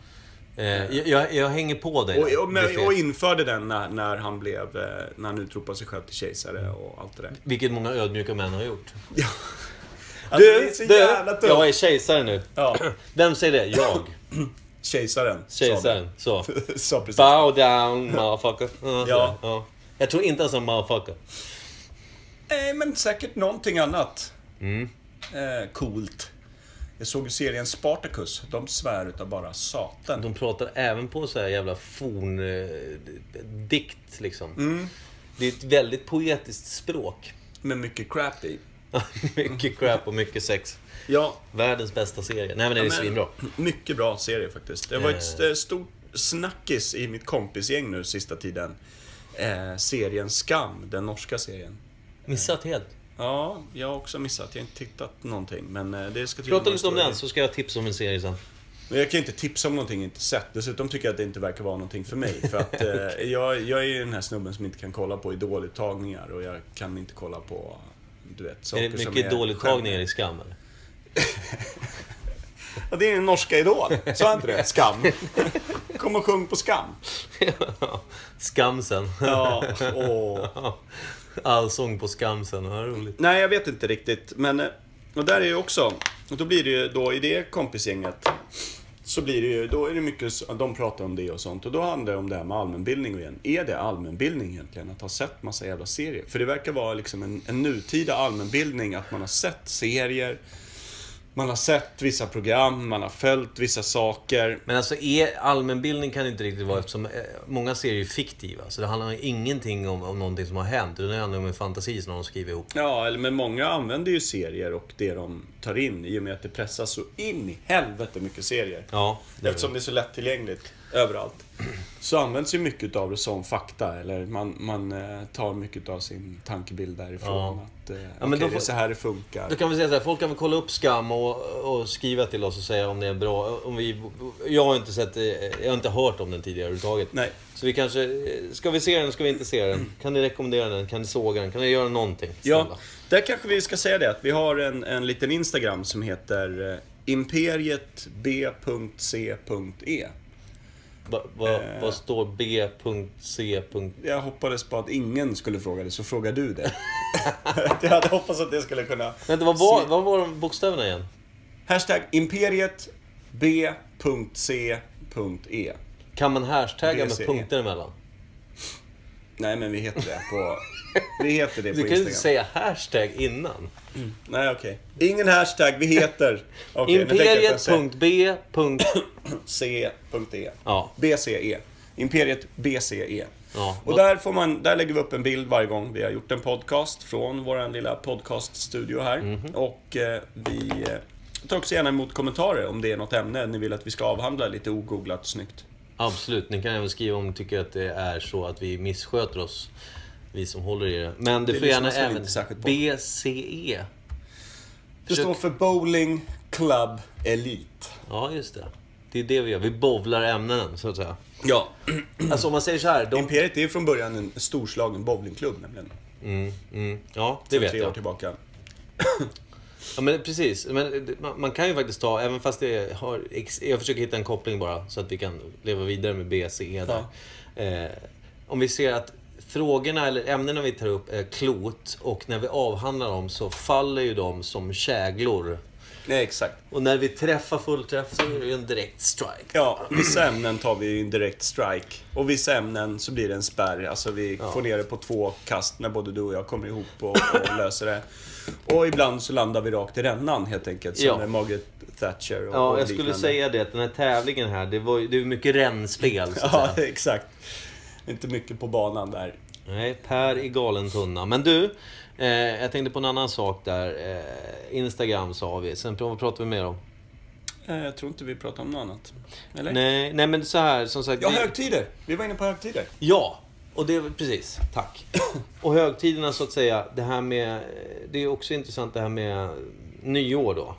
S2: Eh, jag, jag, jag hänger på dig. där.
S4: Och, och,
S2: Det
S4: men,
S2: är
S4: och
S2: fel.
S4: införde den när, när han blev, eh, när han utropade sig själv till kejsare och allt det där.
S2: Vilket många ödmjuka män har gjort.
S4: Ja. Alltså, det är så jävla
S2: du,
S4: tungt.
S2: jag är kejsare nu.
S4: Ja.
S2: Vem säger det? Jag.
S4: Kejsaren. sa
S2: Kejsaren. Så.
S4: det. Sa precis.
S2: Bow down, motherfucker. Ja, så.
S4: Ja.
S2: ja. Jag tror inte ens en motherfucker.
S4: Nej, men säkert någonting annat.
S2: Mm.
S4: Eh, coolt. Jag såg ju serien Spartacus. De svär utav bara satan.
S2: De pratar även på så här jävla forn... Eh, dikt liksom.
S4: Mm.
S2: Det är ett väldigt poetiskt språk.
S4: Med mycket crap i.
S2: mycket crap och mycket sex.
S4: Ja,
S2: Världens bästa serie. Nej men det är
S4: men
S2: svinbra. Eh.
S4: mycket bra serie faktiskt. Det var ett st- stort snackis i mitt kompisgäng nu sista tiden. Eh, serien Skam, den norska serien.
S2: Missat helt.
S4: Ja, jag har också missat. Jag har inte tittat någonting, men eh, det ska tydligen
S2: Prata
S4: vara
S2: lite om
S4: stor
S2: den
S4: grej.
S2: så ska jag tipsa om en serie sen.
S4: Men jag kan ju inte tipsa om någonting jag inte sett. Dessutom tycker jag att det inte verkar vara någonting för mig. För att eh, jag, jag är ju den här snubben som inte kan kolla på idoluttagningar och jag kan inte kolla på, du vet, saker
S2: Är det
S4: som
S2: mycket dålig tagningar
S4: genre.
S2: i Skam eller?
S4: Ja, det är den norska Idol. Sa jag inte det? Skam. Kom och sjung på Skam.
S2: Skamsen.
S4: Ja, åh.
S2: Allsång på Skamsen. Vad roligt.
S4: Nej, jag vet inte riktigt. Men, eh, och där är ju också, och då blir det ju då i det kompisgänget, så blir det ju, då är det mycket, s- de pratar om det och sånt. Och då handlar det om det här med allmänbildning igen. Är det allmänbildning egentligen? Att ha sett massa jävla serier? För det verkar vara liksom en, en nutida allmänbildning, att man har sett serier, man har sett vissa program, man har följt vissa saker.
S2: Men alltså är, allmänbildning kan det inte riktigt vara eftersom eh, många serier är fiktiva. Så det handlar ju ingenting om, om någonting som har hänt. Utan det handlar om en fantasi som någon skriver ihop.
S4: Ja, eller men många använder ju serier och det de tar in i och med att det pressas så in i helvete mycket serier.
S2: Ja, det är
S4: Eftersom det är så lättillgängligt överallt. Mm. Så används ju mycket av det som fakta. Eller man, man eh, tar mycket av sin tankebild därifrån.
S2: Ja.
S4: Att eh,
S2: men
S4: okej,
S2: då
S4: det är
S2: får-
S4: så här det funkar.
S2: Då kan vi säga så här, folk kan väl kolla upp Skam och, och skriva till oss och säga om det är bra. Om vi, jag har inte sett, eh, jag har inte hört om den tidigare överhuvudtaget.
S4: Nej.
S2: Så vi kanske, eh, ska vi se den, ska vi inte se den? Kan ni rekommendera den? Kan ni såga den? Kan ni göra någonting?
S4: Ja,
S2: Snälla.
S4: där kanske vi ska säga det att vi har en, en liten Instagram som heter eh, imperietb.c.e.
S2: Va, va,
S4: Eh.
S2: Vad står B.C.
S4: Jag hoppades på att ingen skulle fråga det, så frågar du det. jag hade hoppats att det skulle kunna...
S2: Vänta, vad var, vad var de bokstäverna igen?
S4: Hashtag imperietb.c.e.
S2: Kan man hashtagga med
S4: BCE.
S2: punkter emellan?
S4: Nej, men vi heter det på, vi heter det på
S2: Du kan ju
S4: Instagram.
S2: inte säga hashtag innan.
S4: Nej, okej. Ingen hashtag, vi heter... Okay,
S2: Imperiet.B.
S4: C.E.
S2: Ja.
S4: BCE. E. Imperiet BCE.
S2: Ja,
S4: och
S2: vad-
S4: där, får man, där lägger vi upp en bild varje gång vi har gjort en podcast från vår lilla podcaststudio här.
S2: Mhm.
S4: Och eh, vi eh, tar också gärna emot kommentarer om det är något ämne ni vill att vi ska avhandla lite ogooglat snyggt.
S2: Absolut, ni kan även skriva om ni tycker att det är så att vi missköter oss. Vi som håller i det. Men det,
S4: Det
S2: får gärna
S4: lyssnas väl
S2: även... E.
S4: inte särskilt på.
S2: BCE.
S4: Det står för Bowling Club Elite.
S2: Ja, just det. Det är det vi gör. Vi bovlar ämnen, så att säga.
S4: Ja.
S2: Alltså om man säger så här. De...
S4: Imperiet är ju från början en storslagen bowlingklubb nämligen.
S2: Mm, mm, ja, det vet
S4: tre typ- år
S2: jag.
S4: tillbaka.
S2: Ja, men precis. Men det- man- man kan ju faktiskt ta, även fast det har... ex- Jag försöker hitta en koppling bara, så att vi kan leva vidare med BCE där. Eh, om vi ser att frågorna eller ämnena vi tar upp är klot och när vi avhandlar dem så faller ju de som käglor.
S4: Nej, exakt.
S2: Och när vi träffar fullträff så är det ju en direkt strike.
S4: Ja, vissa ämnen tar vi ju en direkt strike. Och vissa ämnen så blir det en spärr. Alltså vi får ner det på två kast när både du och jag kommer ihop och, och löser det. Och ibland så landar vi rakt i rännan helt enkelt. Som
S2: Ja.
S4: när Margaret Thatcher och,
S2: Ja,
S4: och
S2: jag skulle
S4: liknande.
S2: säga det att den här tävlingen här, det var ju det är mycket rännspel så att
S4: Ja,
S2: säga.
S4: exakt. Inte mycket på banan där.
S2: Nej, Per i galen tunna. Men du, eh, jag tänkte på en annan sak där. Eh, Instagram sa vi, sen pr- vad pratar vi mer om?
S4: Eh, Jag tror inte vi pratar om något annat. Eller?
S2: Nej, nej men så här, som sagt.
S4: Ja,
S2: vi-
S4: högtider! Vi var inne på högtider.
S2: Ja, och det, precis. Tack. Och högtiderna så att säga, det här med, eh, det är också intressant det här med eh, nyår då.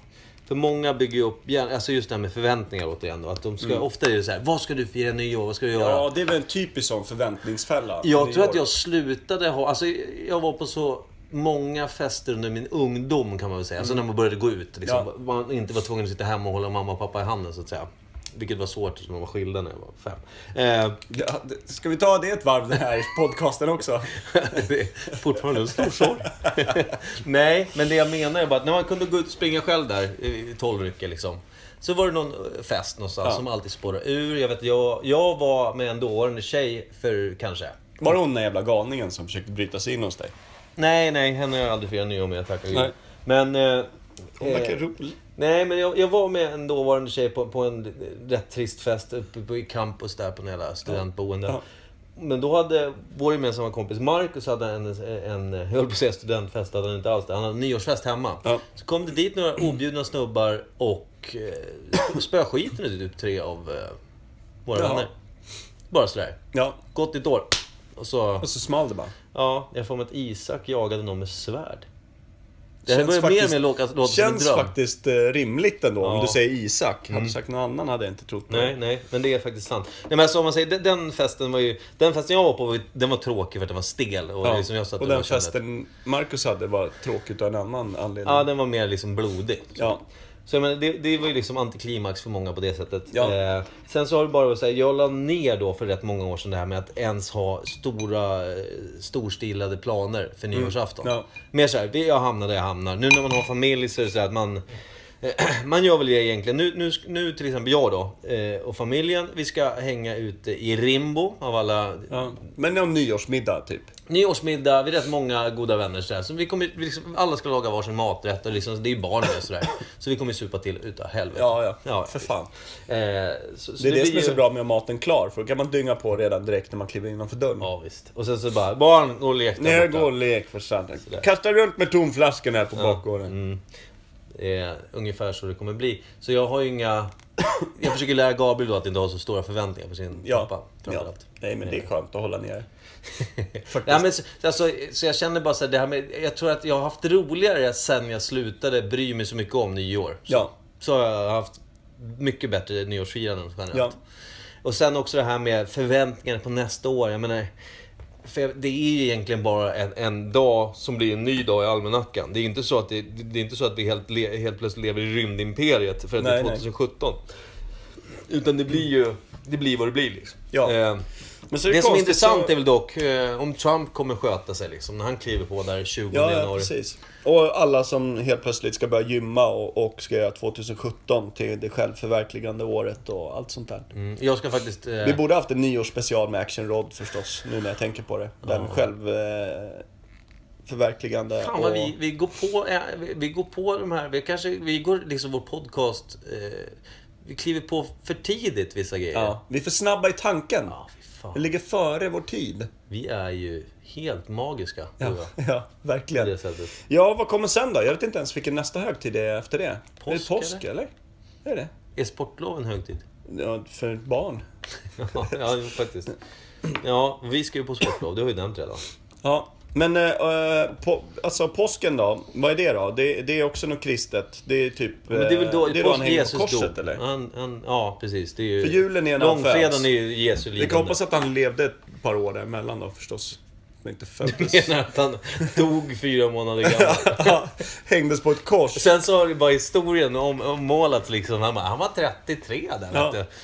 S2: För många bygger ju upp, gärna- alltså just det här med förväntningar återigen då. Att de ska, Ofta är det så här, vad ska du fira nyår, vad ska du göra?
S4: Ja, det är väl en typisk sån förväntningsfälla.
S2: Jag
S4: Det
S2: tror
S4: är
S2: att jag slutade ha... Alltså, jag var på så många fester under min ungdom kan man väl säga. Alltså när man började gå ut. Liksom,
S4: Ja.
S2: Man inte var tvungen att sitta hemma och hålla mamma och pappa i handen så att säga. Vilket var svårt eftersom de var skilda när jag var fem. Eh,
S4: Ja, det- Ska vi ta det ett varv den här podcasten också?
S2: det är fortfarande en stor sorg. Nej, men det jag menar är bara att när man kunde gå ut och springa själv där i tolvrycket liksom. Så var det någon eh, fest någonstans
S4: Ja.
S2: som alltid spårade ur. Jag, vet, jag, jag var med en dåvarande tjej för kanske
S4: Var det hon den jävla galningen som försökte bryta sig in hos dig?
S2: Nej, nej, henne har jag aldrig firat nyår med, tackar gud.
S4: Nej.
S2: Men... Eh,
S4: Hon verkar
S2: eh,
S4: rolig.
S2: Nej, men jag, jag var med en dåvarande tjej på, på en rätt trist fest uppe på, i campus där på något jävla studentboende.
S4: Ja.
S2: Men då hade vår gemensamma kompis Marcus hade en, en, jag höll på att säga studentfest, hade han inte alls det. Han hade en nyårsfest hemma.
S4: Ja.
S2: Så kom det dit några objudna snubbar och eh, spöskiten ut typ tre av eh, våra
S4: Jaha.
S2: vänner. Bara sådär.
S4: Ja,
S2: Gott nytt år! Och så...
S4: och så small det bara.
S2: Ja, jag får mig att Isak jagade någon med svärd. Det här
S4: Känns
S2: börjar mer och
S4: faktiskt-
S2: mer låta, låta som en
S4: Känns
S2: dröm.
S4: faktiskt eh, rimligt ändå
S2: Ja. Mm.
S4: om du säger Isak. Hade du sagt någon annan hade jag inte trott på
S2: Nej,
S4: det.
S2: nej, men det är faktiskt sant. Nej, men alltså, om man säger, den, den festen var ju... Den festen jag var på, var ju- den var tråkig för att den var stel. Och,
S4: Ja.
S2: liksom jag satt
S4: och
S2: där
S4: den
S2: kände att-
S4: festen Marcus hade var tråkigt av en annan anledning.
S2: Ja, den var mer liksom blodig.
S4: Ja.
S2: Så jag menar, det, det var ju liksom antiklimax för många på det sättet.
S4: Ja.
S2: Eh, sen så har det bara varit så här, jag la ner då för rätt många år sedan det här med att ens ha stora, eh, storstilade planer för nyårsafton.
S4: Mm. Ja.
S2: Mer så här, vi- jag hamnar där jag hamnar. Nu när man har familj så är det så här att man... eh, Man gör väl det egentligen. Nu, nu, nu till exempel jag då eh, och familjen, vi ska hänga ute i Rimbo av alla
S4: Ja. Men någon nyårsmiddag typ.
S2: Nyårsmiddag, vi är rätt många goda vänner sådär. Så vi kommer, vi liksom, alla ska laga varsin maträtt och liksom, det är ju barn med sådär. Så vi kommer supa till utav helvete.
S4: Ja, ja. För fan.
S2: Eh, så, så
S4: Det är det,
S2: blir
S4: som är så
S2: ju-
S4: bra med att ha maten klar, för då kan man dynga på redan direkt när man kliver innanför dörren.
S2: Ja, visst. Och sen så bara, barn, gå och lek där
S4: Ner
S2: borta.
S4: går lek för satan. Kasta runt med tomflaskorna här på bakgården.
S2: Mm, Eh, ungefär så det kommer bli. Så jag har ju inga... jag försöker lära Gabriel då att inte ha så stora förväntningar på sin pappa.
S4: Ja. ja.
S2: framförallt.
S4: Nej, men det är skönt att hålla ner.
S2: Ja, men, så, alltså, så jag känner bara så här, det här med, jag tror att jag har haft roligare sen jag slutade bry mig så mycket om nyår. Så,
S4: Ja.
S2: så har jag haft mycket bättre nyårsfiranden generellt.
S4: Ja.
S2: Och sen också det här med förväntningar på nästa år. Jag menar, för jag- det är ju egentligen bara en, en dag som blir en ny dag i almanackan. Det är inte så att, det, det är inte så att vi helt, le, helt plötsligt lever i rymdimperiet för att det är
S4: Nej, nej.
S2: 2017. Utan det blir ju det blir vad det blir liksom.
S4: Ja.
S2: Eh,
S4: Men så
S2: det, som är
S4: konstigt
S2: intressant
S4: så-
S2: är väl dock eh, om Trump kommer sköta sig liksom, när han kliver på där 20
S4: Ja, ja,
S2: januari.
S4: precis. Och alla som helt plötsligt ska börja gymma och, och ska göra 2017 till det självförverkligande året och allt sånt där.
S2: Mm, jag ska faktiskt... Eh,
S4: Vi borde haft en nyårsspecial med Action Rod förstås, nu när jag tänker på det. Den själv... Eh, förverkligande
S2: fan vad vi, vi, går på, eh, vi, vi går på de här... Vi, kanske, vi går liksom vår podcast... Eh, vi kliver på för tidigt vissa grejer.
S4: Ja, vi är för snabba i tanken.
S2: Ja, fy
S4: Vi
S2: fan.
S4: ligger före vår tid.
S2: Vi är ju helt magiska,
S4: Ja,
S2: tror jag.
S4: ja
S2: På det
S4: verkligen.
S2: sättet.
S4: Ja, vad kommer sen då? Jag vet inte ens vilken nästa högtid är efter det. är
S2: Påsk,
S4: det påsk eller? Är det
S2: Är sportloven högtid?
S4: Ja, för ett barn.
S2: Ja, ja, jo, faktiskt. Ja, vi ska ju på sportlov. Det har vi nämnt redan.
S4: Ja, men eh, eh, på, alltså påsken då? Vad är det då? Det, det är också något kristet. Det är typ...
S2: Men det är väl då,
S4: eh,
S2: det
S4: det är då han hänger på korset eller?
S2: Han, han, ja, precis. Det är ju,
S4: För julen är när han
S2: Långfredagen
S4: föds.
S2: är ju Jesu
S4: Vi
S2: lidande.
S4: kan hoppas att han levde ett par år däremellan då förstås. Men inte föddes.
S2: Menar att han dog fyra månader gammal.
S4: Ja, Hängdes på ett kors.
S2: Sen så har ju bara historien om, ommålats liksom. Han, bara, han var 33 där
S4: Ja.
S2: vet du.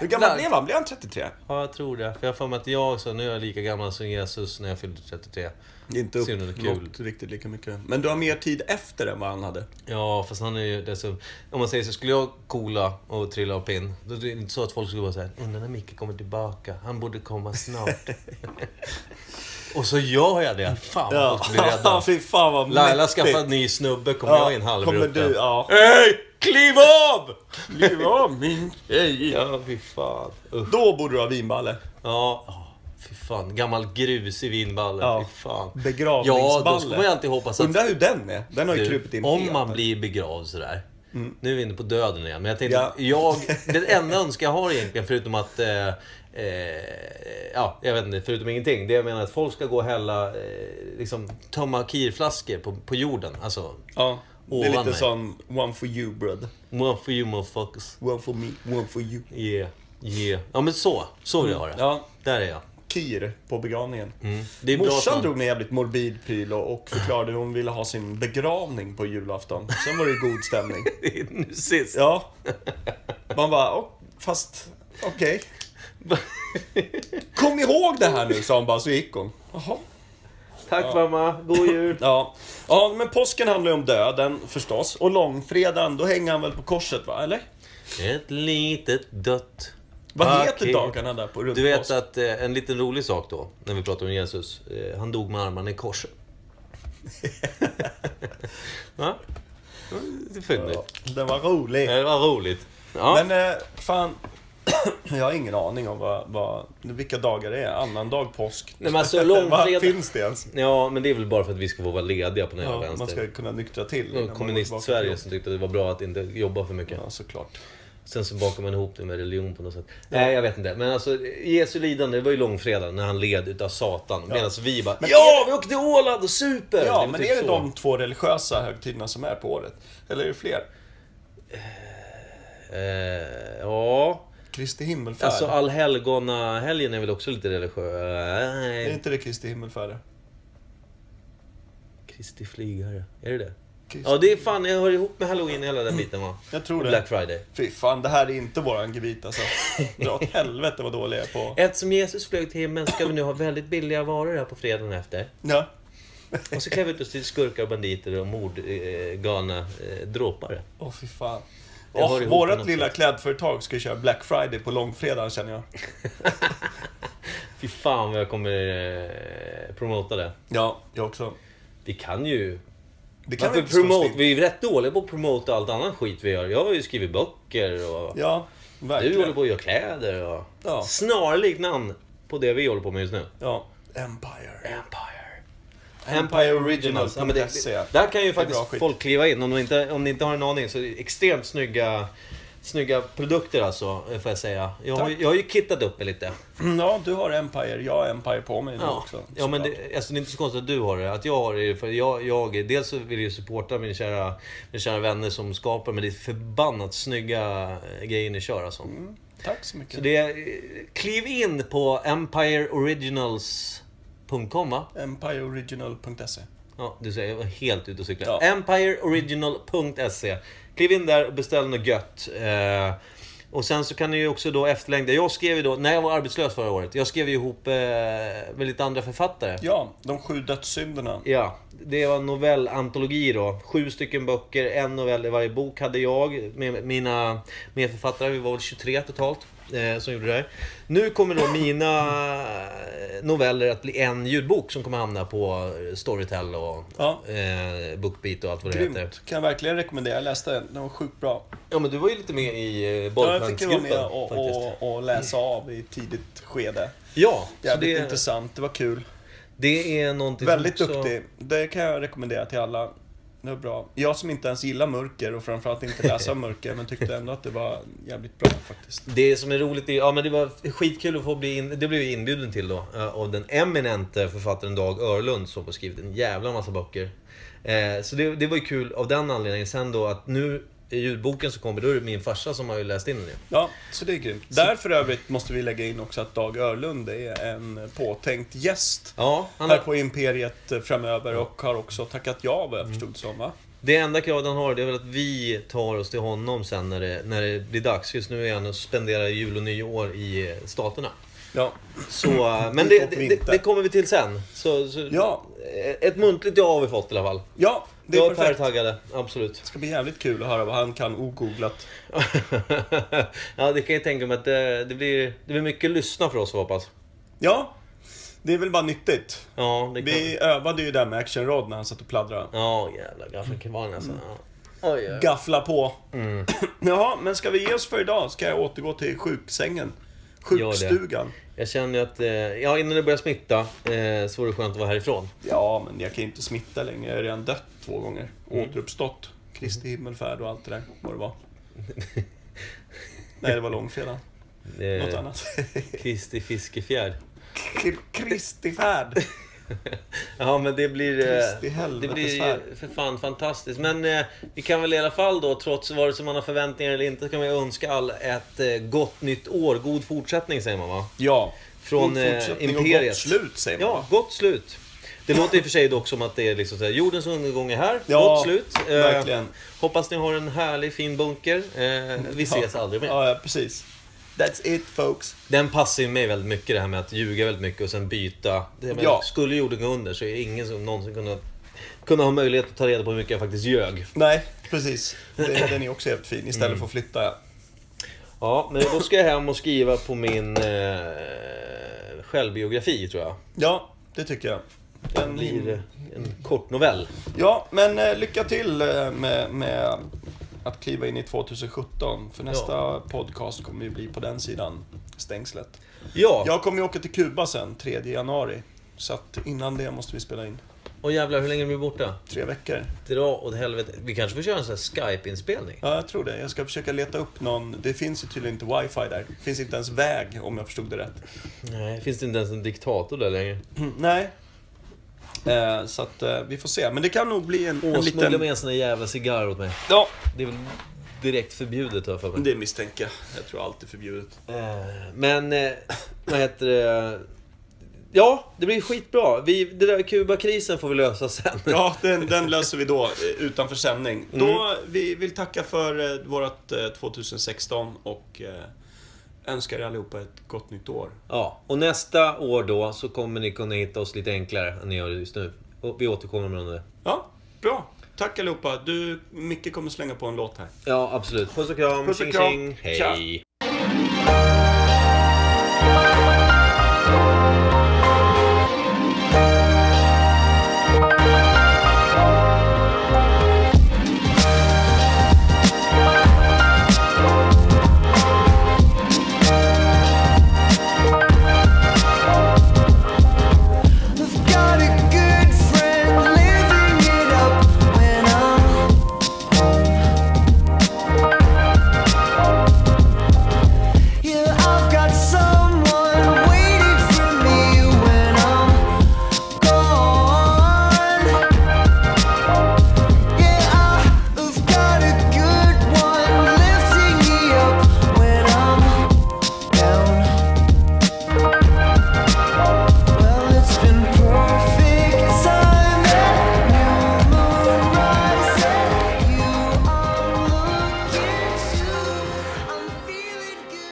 S4: Hur gammal blev han? Blev han 33?
S2: Ja, jag tror det. För jag har för mig att jag så nu är jag lika gammal som Jesus när jag fyllde 33.
S4: Det är Inte upp
S2: Synd, det är kul.
S4: något riktigt lika mycket. Men du har mer tid efter än vad han hade.
S2: Ja, fast han är ju dessutom... Om man säger så, skulle jag kola och trilla av pinn, då är det inte så att folk skulle vara såhär, undrar när Micke kommer tillbaka, han borde komma snart. och så gör jag det. Fan vad folk blir rädda.
S4: fy fan vad
S2: Laila
S4: mäktigt.
S2: skaffar en ny snubbe, kommer jag in
S4: kommer
S2: halvrutten.
S4: du, ja.
S2: Hej! Kliv av!
S4: Liv av min tjej.
S2: Ja, fy fan. Usch.
S4: Då borde du ha vinballe.
S2: Ja, åh, fy fan. Gammal grus i vinballen.
S4: Ja.
S2: Fy fan.
S4: Begravningsballe.
S2: Ja, då ska man ju alltid hoppas att...
S4: Undrar hur den är. Den har ju
S2: Du,
S4: krupit in
S2: Eh, om
S4: helt.
S2: man blir begravd sådär. Nu är vi inne på döden igen, men jag tänkte
S4: Ja.
S2: att jag... Den enda önskan jag har egentligen, förutom att... Eh, eh, ja, jag vet inte, förutom ingenting. Det jag menar är att folk ska gå och hälla... Eh, liksom tömma kirflaskor på, på jorden. Alltså...
S4: Ja. Det är
S2: Ovan
S4: lite
S2: mig.
S4: sån one for you bröd.
S2: One for you motherfuckers.
S4: One for me, one for you.
S2: Yeah. Yeah. Ja men så, så vill jag ha det.
S4: Mm. Ja.
S2: Där är jag.
S4: Kir på begravningen.
S2: Mm. Det är bra att
S4: Morsan
S2: man-
S4: drog en jävligt morbid pryl och, och förklarade hur hon ville ha sin begravning på julafton. Sen var det ju god stämning.
S2: Det är nu sist.
S4: Ja. Man bara, "Åh, fast okej. Kom ihåg det här nu, sa hon bara, så gick hon. Jaha.
S2: Tack mamma, god jul.
S4: Ja. ja, men påsken handlar ju om döden förstås. Och långfredagen, då hänger han väl på korset va, eller?
S2: Ett litet dött.
S4: Vad
S2: paket.
S4: heter dagarna där på runt
S2: Ah, Du vet
S4: påsk?
S2: att eh, en liten rolig sak då, när vi pratar om Jesus. Eh, han dog med armarna i kors. Va? Mm, Det är fyndigt.
S4: Ja, den var rolig.
S2: Eh, Det var roligt. Ja.
S4: Men eh, fan, jag har ingen aning om vad, vad, vilka dagar det är. Annandag påsk.
S2: Nej, men alltså, långfredag-
S4: Vad Finns det ens?
S2: ja, men det är väl bara för att vi ska få vara lediga på den här
S4: Ja, man
S2: vänster.
S4: ska kunna nyktra till.
S2: Det
S4: innan
S2: var
S4: man går tillbaka till
S2: Kommunist-Sverige
S4: jobb.
S2: som tyckte att det var bra att inte jobba för mycket.
S4: Ja, såklart.
S2: Sen så bakar man ihop det med religion på något sätt. Nej, jag vet inte. Men alltså, Jesu lidande, det var ju långfredagen när han led utav Satan. Medan vi bara, ja, vi åkte till Åland och super!
S4: Ja,
S2: är
S4: men
S2: typ
S4: är det
S2: så.
S4: de två religiösa högtiderna som är på året? Eller är det fler?
S2: Eh, ja,
S4: Kristi himmelfärd?
S2: alltså allhelgona-helgen är väl också lite religiös.
S4: Är
S2: Nej,
S4: inte det Kristi himmelfärd?
S2: Kristi flygare. Är det det?
S4: Kristi-
S2: Ja, det är fan, jag hör ihop med halloween hela den biten va?
S4: Jag tror
S2: Och
S4: det.
S2: Black Friday.
S4: Fy fan, det här är inte våran gebit alltså. Dra åt helvete vad dålig jag är på...
S2: Eftersom Jesus flög till himlen ska vi nu ha väldigt billiga varor här på fredagen efter.
S4: Ja.
S2: Och så klär vi ut oss till skurkar, banditer och mordgalna eh, dråpare.
S4: Åh fy fan.
S2: Jag hör
S4: Oh,
S2: ihop på
S4: vårat
S2: något
S4: lilla
S2: sätt.
S4: klädföretag ska ju köra Black Friday på långfredagen känner jag.
S2: Fy fan vad jag kommer eh, promota det.
S4: Ja, jag också.
S2: Vi kan ju...
S4: Det kan
S2: Varför
S4: inte stå
S2: promote?
S4: still.
S2: Vi är ju rätt dåliga på att promota allt annan skit vi gör. Jag har ju skrivit böcker och...
S4: Ja, verkligen.
S2: Du håller på att göra kläder och...
S4: Ja.
S2: Snarlikt namn på det vi håller på med just nu.
S4: Ja. Empire.
S2: Empire.
S4: Empire E. Originals.
S2: Ja, men det,
S4: ja.
S2: där kan ju
S4: är bra
S2: faktiskt
S4: skit.
S2: folk kliva in. Om de, inte, om ni inte har en aning så är det extremt snygga, snygga produkter alltså, eh, får jag säga. Jag har, ju- jag har ju kittat upp mig lite.
S4: ja, du har Empire. Jag har Empire på mig nu
S2: Ja,
S4: också.
S2: ja men
S4: såklart.
S2: det, alltså, det är inte så konstigt att du har det. Att jag har det, för jag, jag dels så vill jag ju supporta min kära, mina kära vänner som skapar, men det är förbannat snygga eh, grejer ni kör alltså.
S4: Mm. Tack så mycket.
S2: Så det, är- eh, kliv in på empireoriginals.com va?
S4: Empireoriginal.se
S2: Ja, du säger, jag var helt ute och cyklade.
S4: Ja.
S2: Empireoriginal.se. Kliv in där och beställ något gött. Eh, och sen så kan ni ju också då efterlängda. Jag skrev ju då, när jag var arbetslös förra året, jag skrev ju ihop eh, med lite andra författare.
S4: Ja, de sju dödssynderna.
S2: Ja, det var en novellantologi då. Sju stycken böcker, en novell i varje bok hade jag med mina medförfattare. Vi var väl 23 totalt eh, som gjorde det här. Nu kommer då mina eh, noveller att bli en ljudbok som kommer hamna på Storytel och
S4: Ja.
S2: eh, Bookbeat och allt vad det heter.
S4: Grymt. Kan jag verkligen rekommendera. Jag läste den. Den var sjukt bra.
S2: Ja, men du var ju lite med i eh,
S4: Ja, jag fick ju vara
S2: bollplanksgruppen
S4: med och,
S2: faktiskt.
S4: och, och läsa av i ett tidigt skede.
S2: Ja, så
S4: Jävligt
S2: det,
S4: intressant. Det var kul.
S2: det är någonting som
S4: Väldigt
S2: också-
S4: duktig. Det kan jag rekommendera till alla. Det var bra. Jag som inte ens gillar mörker och framförallt inte läser om mörker, men tyckte ändå att det var jävligt bra faktiskt.
S2: Det som är roligt är, ja men det var skitkul att få bli in, det blev jag inbjuden till då. eh, Av den eminente författaren Dag Örlund som har skrivit en jävla massa böcker. Eh, så det, det var ju kul av den anledningen. Sen då att nu i ljudboken som kommer, då är det min farsa som har ju läst in den. ju.
S4: Ja, så det är grymt. Där för övrigt måste vi lägga in också att Dag Örlund är en påtänkt gäst
S2: Ja, han
S4: här
S2: har,
S4: på Imperiet eh, framöver och har också tackat ja vad jag
S2: Mm.
S4: förstod som va?
S2: det enda kravet han har det är väl att vi tar oss till honom sen när det, när det blir dags. Just nu är han och spenderar jul och nyår i eh, Staterna.
S4: Ja,
S2: Så, eh, men
S4: Dit
S2: det,
S4: åker vi
S2: det,
S4: inte.
S2: det kommer vi till sen. Så, så, Eh,
S4: Ja.
S2: Ett muntligt ja har vi fått i alla fall.
S4: ja det
S2: jag
S4: är
S2: och Per är
S4: perfekt.
S2: taggade, absolut.
S4: Det ska bli jävligt kul att höra vad han kan ogooglat.
S2: ja, det kan jag tänka mig att det, det, blir, det blir mycket lyssna för oss hoppas.
S4: Ja, det är väl bara nyttigt.
S2: Ja, det kan...
S4: Vi övade ju där med Action Rod när han satt och pladdrade.
S2: Ja, jävlar. Gaffelkvarn alltså.
S4: Mm.
S2: Ja. Mm. Oj, oj.
S4: Gaffla på. Jaha, men ska vi ge oss för idag? Ska jag återgå till sjuksängen?
S2: det.
S4: Sjukstugan?
S2: Jag känner ju att, eh, ja innan det börjar smitta eh, så vore det skönt att vara härifrån.
S4: Ja, men jag kan ju inte smitta längre. Jag har redan dött två gånger.
S2: Mm.
S4: Återuppstått. Kristi himmelfärd och allt det där, vad det var. Nej, det var långfredagen.
S2: Eh,
S4: Något annat.
S2: Kristi Fiskefjärd.
S4: Kri- Kristi färd.
S2: Ja men det blir... eh,
S4: Kristi
S2: Det
S4: helvetes
S2: blir
S4: färd.
S2: ju för fan fantastiskt. Men eh, vi kan väl i alla fall då, trots vare sig man har förväntningar eller inte, så kan vi önska all ett eh, gott nytt år. God fortsättning säger man va?
S4: Ja.
S2: Från
S4: God
S2: eh,
S4: fortsättning och
S2: Imperiet.
S4: gott slut, säger man.
S2: Ja, gott slut. Det låter i och för sig dock som att det är liksom så här, jordens undergång är här.
S4: Ja,
S2: gott slut. Eh,
S4: verkligen.
S2: Hoppas ni har en härlig fin bunker. Eh, vi ses aldrig mer.
S4: Ja, ja, precis. That's it, folks.
S2: Den passar ju mig väldigt mycket det här med att ljuga väldigt mycket och sen byta. Det jag menar,
S4: Ja.
S2: Skulle jorden gå under så är det ingen som någonsin kunna, kunna ha möjlighet att ta reda på hur mycket jag faktiskt ljög.
S4: Nej, precis. Det- Den är också jävligt fin. Istället
S2: Mm.
S4: för att flytta, ja.
S2: Ja, men då ska jag hem och skriva på min eh, självbiografi tror jag.
S4: Ja, det tycker jag.
S2: Den blir eh, en kort novell.
S4: Ja, men eh, lycka till eh, med, med att kliva in i 2017. För nästa podcast kommer ju bli på den sidan, stängslet.
S2: Ja,
S4: Jag kommer ju åka till Kuba sen, 3 januari. Så att innan det måste vi spela in.
S2: och jävlar hur länge blir vi borta?
S4: Tre veckor.
S2: Dra åt helvete. Vi kanske får köra en sån här Skype-inspelning?
S4: Ja, jag tror det. Jag ska försöka leta upp någon. Det finns ju tydligen inte wifi där. Det finns inte ens väg, om jag förstod det rätt.
S2: Nej, finns det inte ens en diktator där längre?
S4: Mm, Nej. Eh, så att eh, vi får se. Men det kan nog bli en, en
S2: Och smuggla
S4: liten...
S2: med en sån där jävla cigarr åt mig.
S4: Ja,
S2: Det är väl direkt förbjudet har jag för mig.
S4: det misstänker jag. Jag tror allt är förbjudet.
S2: Eh, Men, eh, vad heter det? Ja, det blir skitbra. Vi, det där Kuba-krisen får vi lösa sen.
S4: Ja, den, den löser vi då eh, utanför sändning. Då, vi vill tacka för eh, vårt eh, 2016 och eh, önskar er allihopa ett gott nytt år.
S2: Ja, och nästa år då så kommer ni kunna hitta oss lite enklare än ni gör just nu. Och vi återkommer med det.
S4: Ja, bra. Tack allihopa. Du, Micke kommer slänga på en låt här.
S2: Ja, absolut. Puss och kram.
S4: Puss och
S2: tjing,
S4: kram.
S2: tjing.
S4: Tja.
S2: Hej.